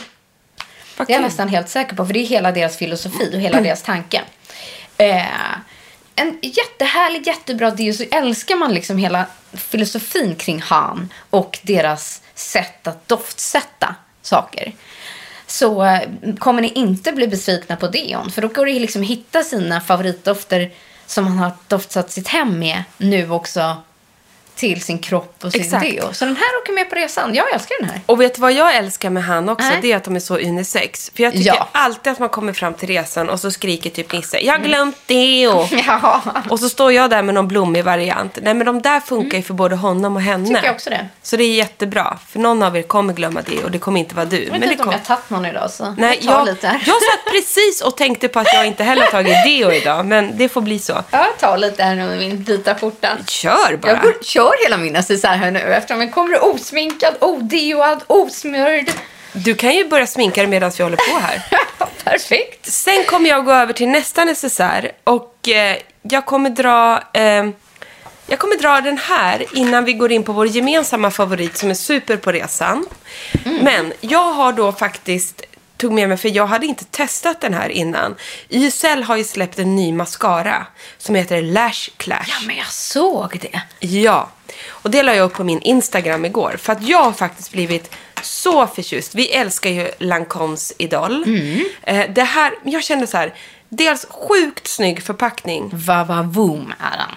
Speaker 2: Vad
Speaker 1: Det är jag
Speaker 2: kul.
Speaker 1: nästan helt säker på, för det är hela deras filosofi och hela deras tanke. Eh, en jättehärlig, jättebra deo, så älskar man liksom hela filosofin kring han och deras sätt att doftsätta saker. Så eh, kommer ni inte bli besvikna på deon, för då går det liksom hitta sina favoritdofter som man har doftsatt sitt hem med nu också till sin kropp och sin
Speaker 2: Exakt.
Speaker 1: deo. Så den här åker med på resan. Jag älskar den här.
Speaker 2: Och vet du vad jag älskar med han också?
Speaker 1: Nej.
Speaker 2: Det är att de är så unisex. För jag tycker
Speaker 1: Ja. Mm.
Speaker 2: alltid att man kommer fram till resan och så skriker typ Nisse, jag har glömt deo.
Speaker 1: Ja,
Speaker 2: Och så står jag där med någon blommig variant. Nej men de där funkar ju för både honom och henne.
Speaker 1: Mm. tycker jag också det.
Speaker 2: Så det är jättebra. För någon av er kommer glömma det och det kommer inte vara du.
Speaker 1: Jag vet
Speaker 2: det
Speaker 1: inte om
Speaker 2: kom...
Speaker 1: jag har tagit någon idag så
Speaker 2: Nej,
Speaker 1: jag tar
Speaker 2: jag,
Speaker 1: lite här.
Speaker 2: jag satt precis och tänkte på att jag inte heller har tagit deo idag. Men det får bli så.
Speaker 1: Jag tar lite här nu med min vita skjorta.
Speaker 2: Kör bara.
Speaker 1: Jag går, kör hela min necessär här nu eftersom jag kommer osminkad, odeoad, osmörd.
Speaker 2: Du kan ju börja sminka dig medan vi håller på här.
Speaker 1: Perfekt.
Speaker 2: Sen kommer jag gå över till nästa necessär och eh, jag kommer dra eh, jag kommer dra den här innan vi går in på vår gemensamma favorit som är super på resan. Men jag har då faktiskt tog med mig, för jag hade inte testat den här innan. YSL har ju släppt en ny mascara som heter Lash Clash.
Speaker 1: Ja, men jag såg det.
Speaker 2: Ja, och det la jag upp på min Instagram igår. För att jag har faktiskt blivit så förtjust. Vi älskar ju Lancomes Idol. Eh, det här, jag kände så här. Dels sjukt snygg förpackning.
Speaker 1: Vavavoom är den.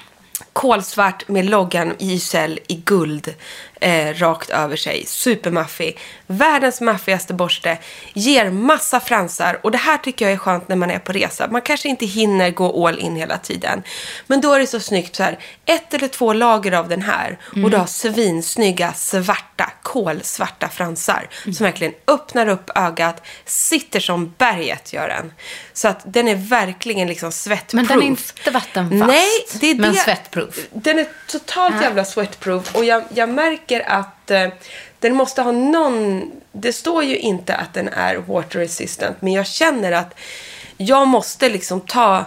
Speaker 2: Kolsvart med loggan YSL i guld eh, rakt över sig. Supermaffig. Världens maffigaste borste. Ger massa fransar. Och det här tycker jag är skönt när man är på resa. Man kanske inte hinner gå all in hela tiden. Men då är det så snyggt så här. Ett eller två lager av den här. Och du har svinsnygga svarta, kolsvarta fransar. Som verkligen öppnar upp ögat. Sitter som berget gör den. Så att den är verkligen liksom svettproof.
Speaker 1: Men den är inte vattenfast.
Speaker 2: Nej, det är
Speaker 1: Men
Speaker 2: det.
Speaker 1: svettproof.
Speaker 2: Den är totalt jävla sweatproof och jag, jag märker att eh, den måste ha någon... Det står ju inte att den är water resistant men jag känner att jag måste liksom ta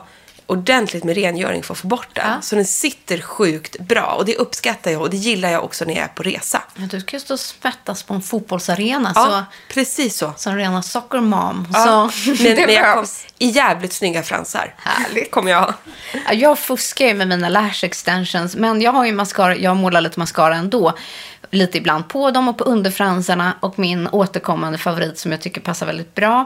Speaker 2: ordentligt med rengöring för att få bort den.
Speaker 1: Ja.
Speaker 2: Så den sitter sjukt bra. Och det uppskattar jag och det gillar jag också när jag är på resa.
Speaker 1: Men Du ska ju stå och svettas på en fotbollsarena
Speaker 2: Ja, precis så.
Speaker 1: så, som rena soccer mom.
Speaker 2: Ja.
Speaker 1: Så
Speaker 2: Men, men jag kom,
Speaker 1: behövs.
Speaker 2: I jävligt snygga fransar.
Speaker 1: Härligt.
Speaker 2: Kommer jag ha.
Speaker 1: Ja, Jag fuskar ju med mina lash extensions, men jag har ju mascara, jag målar lite mascara ändå. Lite ibland på dem och på underfransarna. Och min återkommande favorit som jag tycker passar väldigt bra,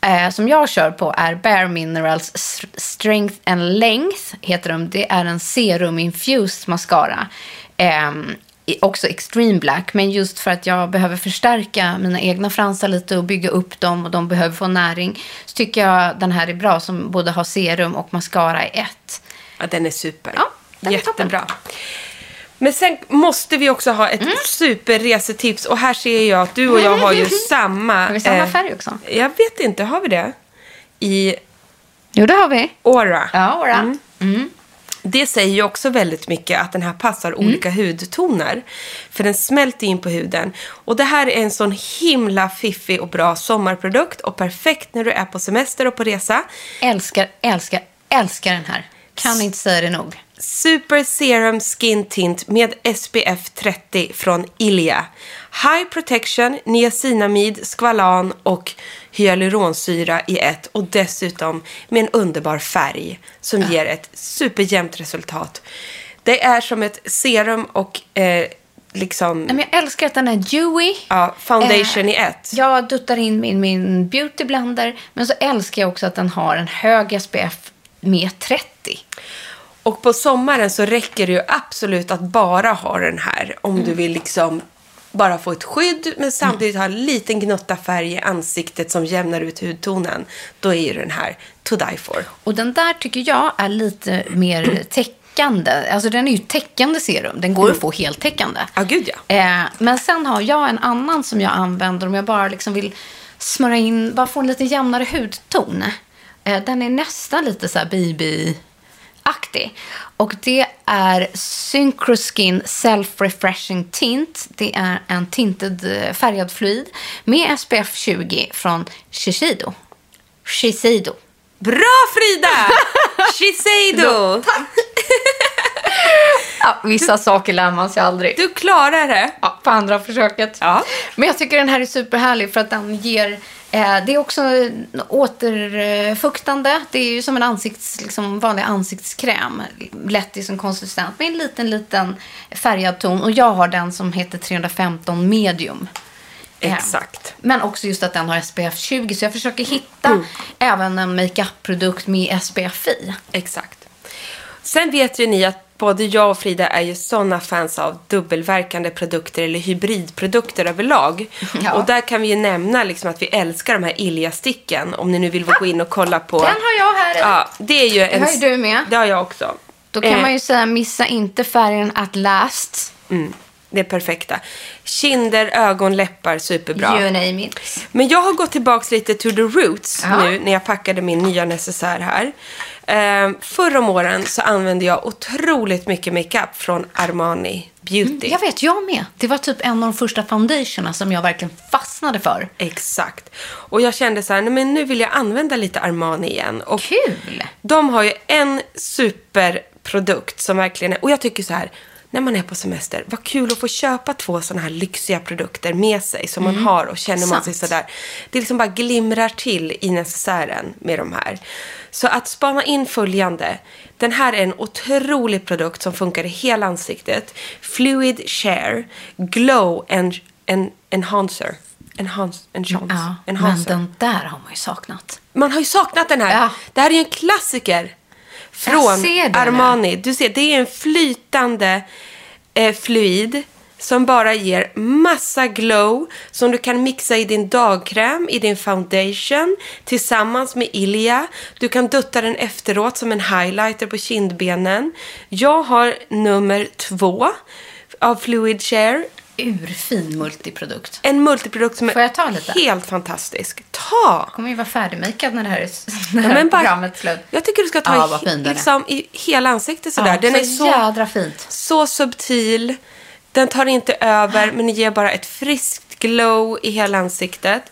Speaker 1: eh, som jag kör på är Bare Minerals S- Strength and Length, heter de. Det är en serum-infused mascara. Ehm, i- också extreme black, men just för att jag behöver förstärka mina egna fransar lite och bygga upp dem och de behöver få näring så tycker jag den här är bra som både har serum och mascara i ett.
Speaker 2: Ja, den är super.
Speaker 1: Ja, den är toppen.
Speaker 2: Jättebra. Men sen måste vi också ha ett superresetips. Och här ser jag att du och jag har ju samma...
Speaker 1: Mm. Har vi samma
Speaker 2: eh,
Speaker 1: färg också?
Speaker 2: Jag vet inte, har vi det? I
Speaker 1: Jo, det har vi.
Speaker 2: Aura.
Speaker 1: Ja, Ora. Mm.
Speaker 2: Det säger ju också väldigt mycket att den här passar
Speaker 1: Mm.
Speaker 2: olika hudtoner. För den smälter in på huden. Och det här är en sån himla fiffig och bra sommarprodukt. Och perfekt när du är på semester och på resa.
Speaker 1: Älskar, älskar, älskar den här. Kan inte säga det nog.
Speaker 2: Super Serum Skin Tint med SPF 30 från Ilia. High Protection, niacinamid, skvalan och hyaluronsyra i ett och dessutom med en underbar färg som ger ett superjämnt resultat. Det är som ett serum och eh, liksom
Speaker 1: Nej, men jag älskar att den är dewy.
Speaker 2: ja, foundation i ett.
Speaker 1: Jag duttar in min, min beauty blender, men så älskar jag också att den har en hög SPF med 30.
Speaker 2: Och på sommaren så räcker det ju absolut att bara ha den här om
Speaker 1: Mm.
Speaker 2: du vill liksom bara få ett skydd men samtidigt ha en liten gnutta färg i ansiktet som jämnar ut hudtonen. Då är ju den här to die for.
Speaker 1: Och den där tycker jag är lite mer täckande. Alltså den är ju täckande serum. Den går att få heltäckande.
Speaker 2: Ja, gud ja.
Speaker 1: Eh, men sen har jag en annan som jag använder om jag bara liksom vill smörja in, bara få en lite jämnare hudton. Eh, den är nästan lite så här BB-aktig. Och det är Synchroskin Self Refreshing Tint. Det är en tinted eh, färgad fluid med SPF 20 från Shiseido. Shiseido.
Speaker 2: Bra Frida! Shiseido!
Speaker 1: Ja, vissa saker lär man sig aldrig.
Speaker 2: Du klarar det.
Speaker 1: Ja, på andra försöket.
Speaker 2: Ja.
Speaker 1: Men jag tycker den här är superhärlig för att den ger... Eh, det är också återfuktande. Det är ju som en ansikts, liksom, vanlig ansiktskräm. Lätt i sin konsistens med en liten, liten färgad ton. Och jag har den som heter 315 medium. Eh,
Speaker 2: Exakt.
Speaker 1: Men också just att den har SPF 20. Så jag försöker hitta
Speaker 2: Mm.
Speaker 1: även en makeup-produkt med SPF i.
Speaker 2: Exakt. Sen vet ju ni att både jag och Frida är ju sådana fans av dubbelverkande produkter eller hybridprodukter överlag.
Speaker 1: Ja.
Speaker 2: Och där kan vi ju nämna liksom att vi älskar de här Ilja-sticken. Om ni nu vill gå in och kolla på...
Speaker 1: Den har jag här i.
Speaker 2: Ja, det är ju en...
Speaker 1: har ju du med.
Speaker 2: Det har jag också.
Speaker 1: Då kan
Speaker 2: Eh,
Speaker 1: man ju säga missa inte färgen at last.
Speaker 2: Mm, det är perfekta. Kinder, ögon, läppar, superbra.
Speaker 1: You name it.
Speaker 2: Men jag har gått tillbaka lite to the roots
Speaker 1: Ja.
Speaker 2: nu när jag packade min nya necessär här. Ehm, förr om åren så använde jag otroligt mycket makeup från Armani Beauty.
Speaker 1: Mm, Jag vet, jag med. Det var typ en av de första foundationerna som jag verkligen fastnade för.
Speaker 2: Exakt. Och jag kände så här, nej men nu vill jag använda lite Armani igen. Och
Speaker 1: Kul!
Speaker 2: De har ju en superprodukt som verkligen är, och jag tycker så här, när man är på semester, vad kul att få köpa två sådana här lyxiga produkter med sig som man har och känner man sig
Speaker 1: Mm. Sant.
Speaker 2: sådär. Det liksom bara glimrar till i necessären med de här. Så att spana in följande. Den här är en otrolig produkt som funkar i hela ansiktet. Fluid Share Glow en en Enhancer. Enhance, enhance,
Speaker 1: Ja, men
Speaker 2: enhancer.
Speaker 1: den där har man ju saknat.
Speaker 2: Man har ju saknat den här.
Speaker 1: Ja.
Speaker 2: Det här är ju en klassiker.
Speaker 1: Jag
Speaker 2: Från
Speaker 1: ser det
Speaker 2: Armani. Du ser, det är en flytande eh, fluid som bara ger massa glow som du kan mixa i din dagkräm, i din foundation tillsammans med Ilia. Du kan dutta den efteråt som en highlighter på kindbenen. Jag har nummer två av Fluid Share.
Speaker 1: Urfin multiprodukt.
Speaker 2: En multiprodukt som
Speaker 1: Får jag ta lite?
Speaker 2: är helt fantastisk. Ta!
Speaker 1: Jag kommer ju vara färdigmakad när det här, när
Speaker 2: Ja, men bara-
Speaker 1: programmet är slut.
Speaker 2: Jag tycker du ska ta
Speaker 1: Ja,
Speaker 2: i,
Speaker 1: vad fin den är.
Speaker 2: liksom, i hela ansiktet sådär.
Speaker 1: Ja,
Speaker 2: den
Speaker 1: så
Speaker 2: är så,
Speaker 1: jädra fint.
Speaker 2: så subtil. Den tar inte över, men ger bara ett friskt glow i hela ansiktet.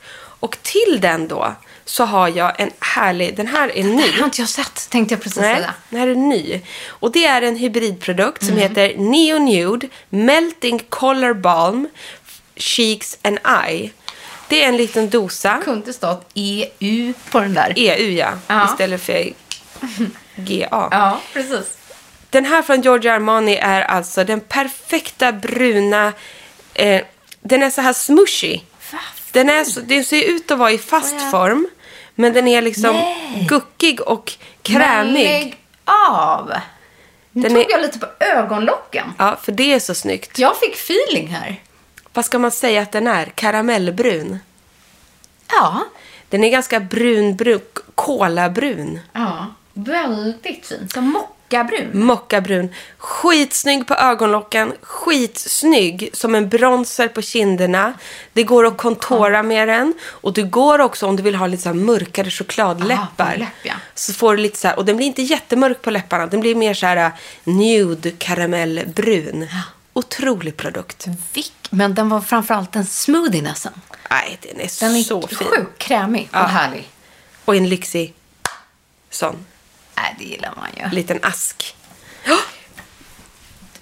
Speaker 2: Och till den då så har jag en härlig, den här är ny.
Speaker 1: Det har inte jag sett, tänkte jag precis
Speaker 2: Nej,
Speaker 1: säga. Mhm.
Speaker 2: den här är ny. Och det är en hybridprodukt som heter Neo Nude Melting Color Balm Cheeks and Eye. Det är en liten dosa.
Speaker 1: Det kunde stått EU på den där.
Speaker 2: EU ja,
Speaker 1: Ja.
Speaker 2: istället för GA.
Speaker 1: Ja, precis.
Speaker 2: Den här från Giorgio Armani är alltså den perfekta bruna... Eh, den är så här smushy. Den, är så, den ser ut att vara i fast form, men den är liksom guckig och
Speaker 1: Men
Speaker 2: krämig.
Speaker 1: lägg av! Nu
Speaker 2: Den
Speaker 1: tog
Speaker 2: är-
Speaker 1: jag lite på ögonlocken.
Speaker 2: Ja, för det är så snyggt.
Speaker 1: Jag fick feeling här.
Speaker 2: Vad ska man säga att den är? Karamellbrun.
Speaker 1: Ja.
Speaker 2: Den är ganska brunbrun, k- kolabrun.
Speaker 1: ja. Väldigt fin. Som mockabrun.
Speaker 2: Mockabrun. Skitsnygg på ögonlocken. Skitsnygg som en bronzer på kinderna. Det går att kontora med den. Och det går också om du vill ha lite så här mörkare
Speaker 1: Ah,
Speaker 2: chokladläppar.
Speaker 1: läpp, ja.
Speaker 2: Så får du lite så här, och den blir inte jättemörk på läpparna. Den blir mer så här äh, nude karamellbrun. Otrolig produkt.
Speaker 1: Mm. Vick, men den var framförallt en smoothinessen.
Speaker 2: Nej, den är
Speaker 1: Den är
Speaker 2: så fin.
Speaker 1: sjukt krämig och härlig.
Speaker 2: Och en lyxig sån
Speaker 1: Nej, det gillar man ju.
Speaker 2: liten ask.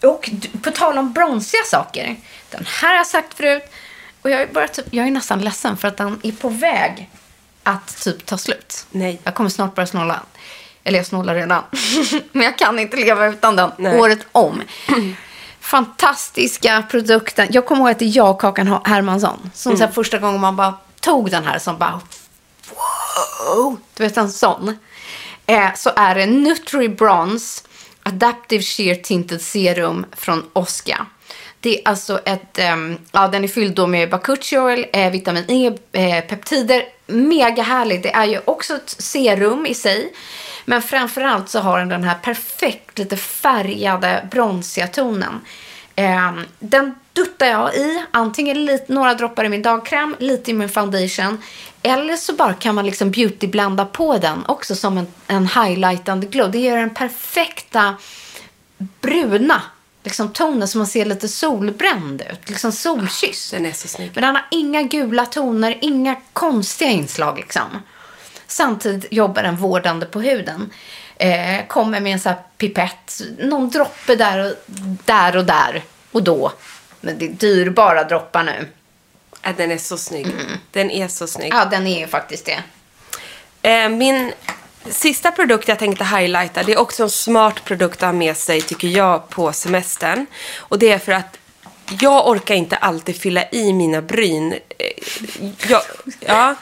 Speaker 1: Och d- på tal om bronsiga saker. Den här har jag sagt förut. Och jag är, bara typ, jag är nästan ledsen för att den är på väg att typ ta slut.
Speaker 2: Nej.
Speaker 1: Jag kommer snart börja snåla. Eller jag snålar redan. Men jag kan inte leva utan den
Speaker 2: Nej.
Speaker 1: året om. Fantastiska produkten. Jag kommer ihåg att det är jag och Kakan Ha- Hermansson. Som
Speaker 2: Mm.
Speaker 1: så här, första gången man bara tog den här som bara wow. Du vet en sån. Eh, så är det Nutri Bronze Adaptive Sheer Tinted Serum från Osca. Det är alltså ett, ehm, ja den är fylld då med bakuchi oil, eh, vitamin E, eh, peptider. Mega härligt. Det är ju också ett serum i sig. Men framförallt så har den den här perfekt lite färgade bronsiga tonen. Ehm, den duttar jag i. Antingen lite, några droppar i min dagkräm, lite i min foundation. Eller så bara kan man liksom beautyblanda på den också som en, en highlightande glow. Det ger den perfekta bruna liksom, tonen så man ser lite solbränd ut. Liksom solkysst.
Speaker 2: Ah, Den är så snygg.
Speaker 1: Men han har inga gula toner, inga konstiga inslag liksom. Samtidigt jobbar den vårdande på huden. Eh, kommer med en sån här pipett, någon droppe där och där och där och då. Men det är dyrbara droppar nu.
Speaker 2: Äh, den är så snygg.
Speaker 1: Mm.
Speaker 2: Den är så snygg.
Speaker 1: Ja, den är ju faktiskt det.
Speaker 2: Eh, min sista produkt jag tänkte highlighta, det är också en smart produkt att ha med sig tycker jag på semestern. Och det är för att jag orkar inte alltid fylla i mina bryn. Eh, Jag, ja,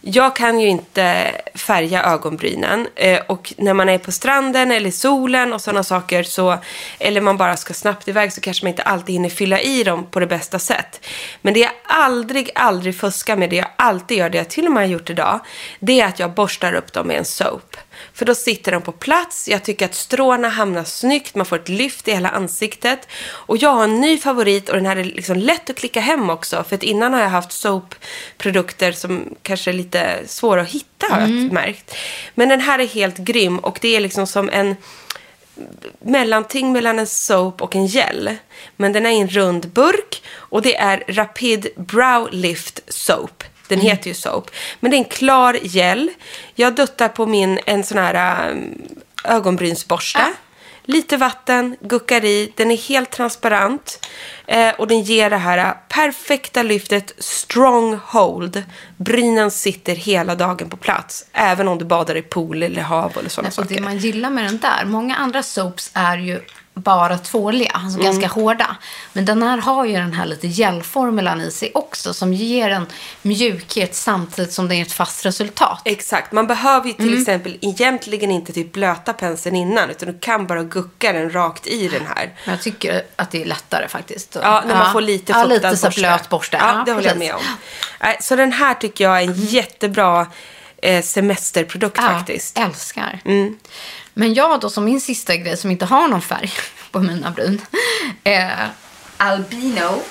Speaker 2: jag kan ju inte färga ögonbrynen. Eh, Och när man är på stranden eller i solen och sådana saker så, eller man bara ska snabbt iväg så kanske man inte alltid hinner fylla i dem på det bästa sätt. Men det jag aldrig, aldrig fuskar med, det jag alltid gör, det jag till och med har gjort idag, det är att jag borstar upp dem med en soap. För då sitter de på plats, jag tycker att stråna hamnar snyggt, man får ett lyft i hela ansiktet. Och jag har en ny favorit och den här är liksom lätt att klicka hem också. För att innan har jag haft soapprodukter som kanske är lite svåra att hitta har jag märkt. Men den här är helt grym och det är liksom som en mellanting mellan en soap och en gel. Men den är i en rund burk och det är Rapid Brow Lift Soap. Den
Speaker 1: Mm.
Speaker 2: heter ju soap. Men det är en klar gel. Jag duttar på min en sån här ähm, ögonbrynsborste.
Speaker 1: Ah.
Speaker 2: Lite vatten, guckar i. Den är helt transparent. Eh, och den ger det här äh, perfekta lyftet strong hold. Brynen sitter hela dagen på plats. Även om du badar i pool eller hav eller sådana
Speaker 1: Och
Speaker 2: saker.
Speaker 1: Alltså, det man gillar med den där, många andra soaps är ju bara tvåliga, alltså
Speaker 2: Mm.
Speaker 1: ganska hårda. Men den här har ju den här lite gelformulan i sig också som ger en mjukhet samtidigt som det är ett fast resultat.
Speaker 2: Exakt. Man behöver ju till
Speaker 1: Mm.
Speaker 2: exempel egentligen inte typ blöta penseln innan utan du kan bara gucka den rakt i den här.
Speaker 1: Men jag tycker att det är lättare faktiskt.
Speaker 2: Ja, när man får lite
Speaker 1: ja,
Speaker 2: fuktad
Speaker 1: lite så här blöt borste.
Speaker 2: Ja, det håller jag
Speaker 1: precis. Mm.
Speaker 2: med om. Nej, Så den här tycker jag är en jättebra eh, semesterprodukt faktiskt.
Speaker 1: Ja, älskar. Men jag då som min sista grej som inte har någon färg på mina bryn. Eh, Albino.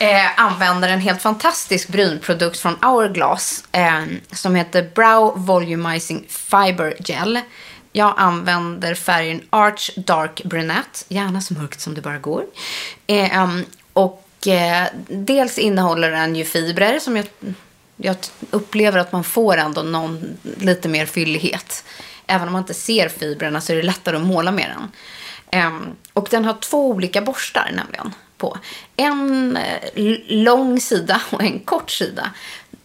Speaker 1: Eh, använder en helt fantastisk brynprodukt från Hourglass. Eh, som heter Brow Volumizing Fiber Gel. Jag använder färgen Arch Dark Brunette. Gärna så mörkt som det bara går. Eh, ehm, och eh, dels innehåller den ju fibrer som jag jag upplever att man får ändå någon lite mer fyllighet. Även om man inte ser fibrerna så är det lättare att måla med den. Ehm, och den har två olika borstar nämligen. På. En eh, l- lång sida och en kort sida.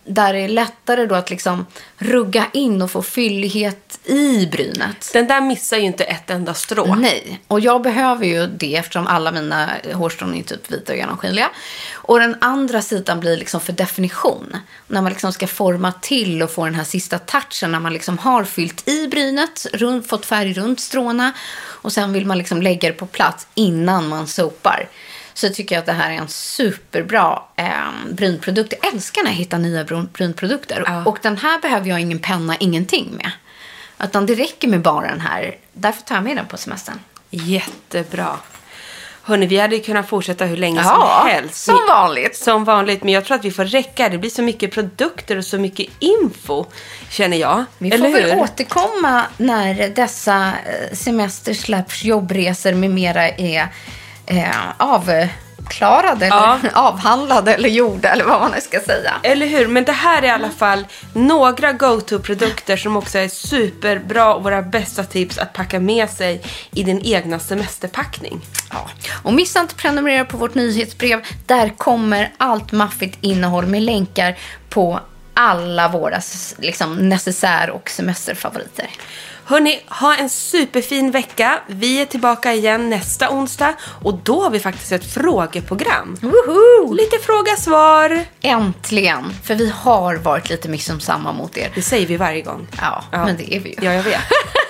Speaker 1: Där det är lättare då att liksom rugga in och få fyllighet i brynet.
Speaker 2: Den där missar ju inte ett enda strå.
Speaker 1: Nej, och jag behöver ju det eftersom alla mina hårstrån är typ vita och genomskinliga. Och den andra sidan blir liksom för definition. När man liksom ska forma till och få den här sista touchen när man liksom har fyllt i brynet, runt, fått färg runt stråna och sen vill man liksom lägga det på plats innan man sopar. Så tycker jag att det här är en superbra eh, brynprodukt. Jag älskar när jag hittar nya brun- brynprodukter. Och den här behöver jag ingen penna, ingenting med. Utan det räcker med bara den här. Därför tar jag med den på semestern.
Speaker 2: Jättebra. Hörni, vi hade ju kunnat fortsätta hur länge
Speaker 1: Ja,
Speaker 2: som helst.
Speaker 1: som vanligt.
Speaker 2: Som vanligt, men jag tror att vi får räcka. Det blir så mycket produkter och så mycket info, känner jag.
Speaker 1: Vi får väl återkomma när dessa eh, semester slash jobbresor med mera är eh, avklarade
Speaker 2: Ja.
Speaker 1: eller avhandlade eller gjorda eller vad man nu ska säga.
Speaker 2: Eller hur? Men det här är i
Speaker 1: Mm.
Speaker 2: alla fall några go-to-produkter som också är superbra och våra bästa tips att packa med sig i din egna semesterpackning.
Speaker 1: Ja. Och missa inte att prenumerera på vårt nyhetsbrev. Där kommer allt maffigt innehåll med länkar på alla våra s- liksom, necessär och semesterfavoriter.
Speaker 2: Hörni, ha en superfin vecka. Vi är tillbaka igen nästa onsdag och då har vi faktiskt ett frågeprogram.
Speaker 1: Woho!
Speaker 2: Lite fråga-svar.
Speaker 1: Äntligen! För vi har varit lite missunnsamma mot er.
Speaker 2: Det säger vi varje gång.
Speaker 1: Ja, men det är vi ju.
Speaker 2: Ja, jag vet.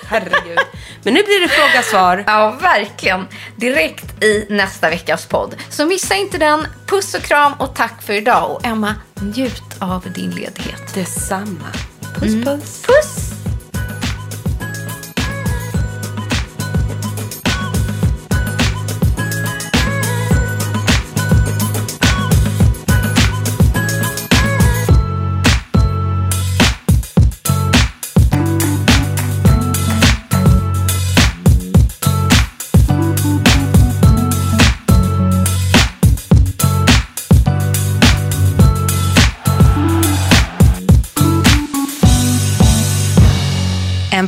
Speaker 2: Herregud. Men nu blir det fråga-svar.
Speaker 1: Ja, verkligen. Direkt i nästa veckas podd. Så missa inte den. Puss och kram och tack för idag. Och Emma, njut av din ledighet.
Speaker 2: Detsamma. Puss,
Speaker 1: Mm.
Speaker 2: puss.
Speaker 1: Puss!
Speaker 5: En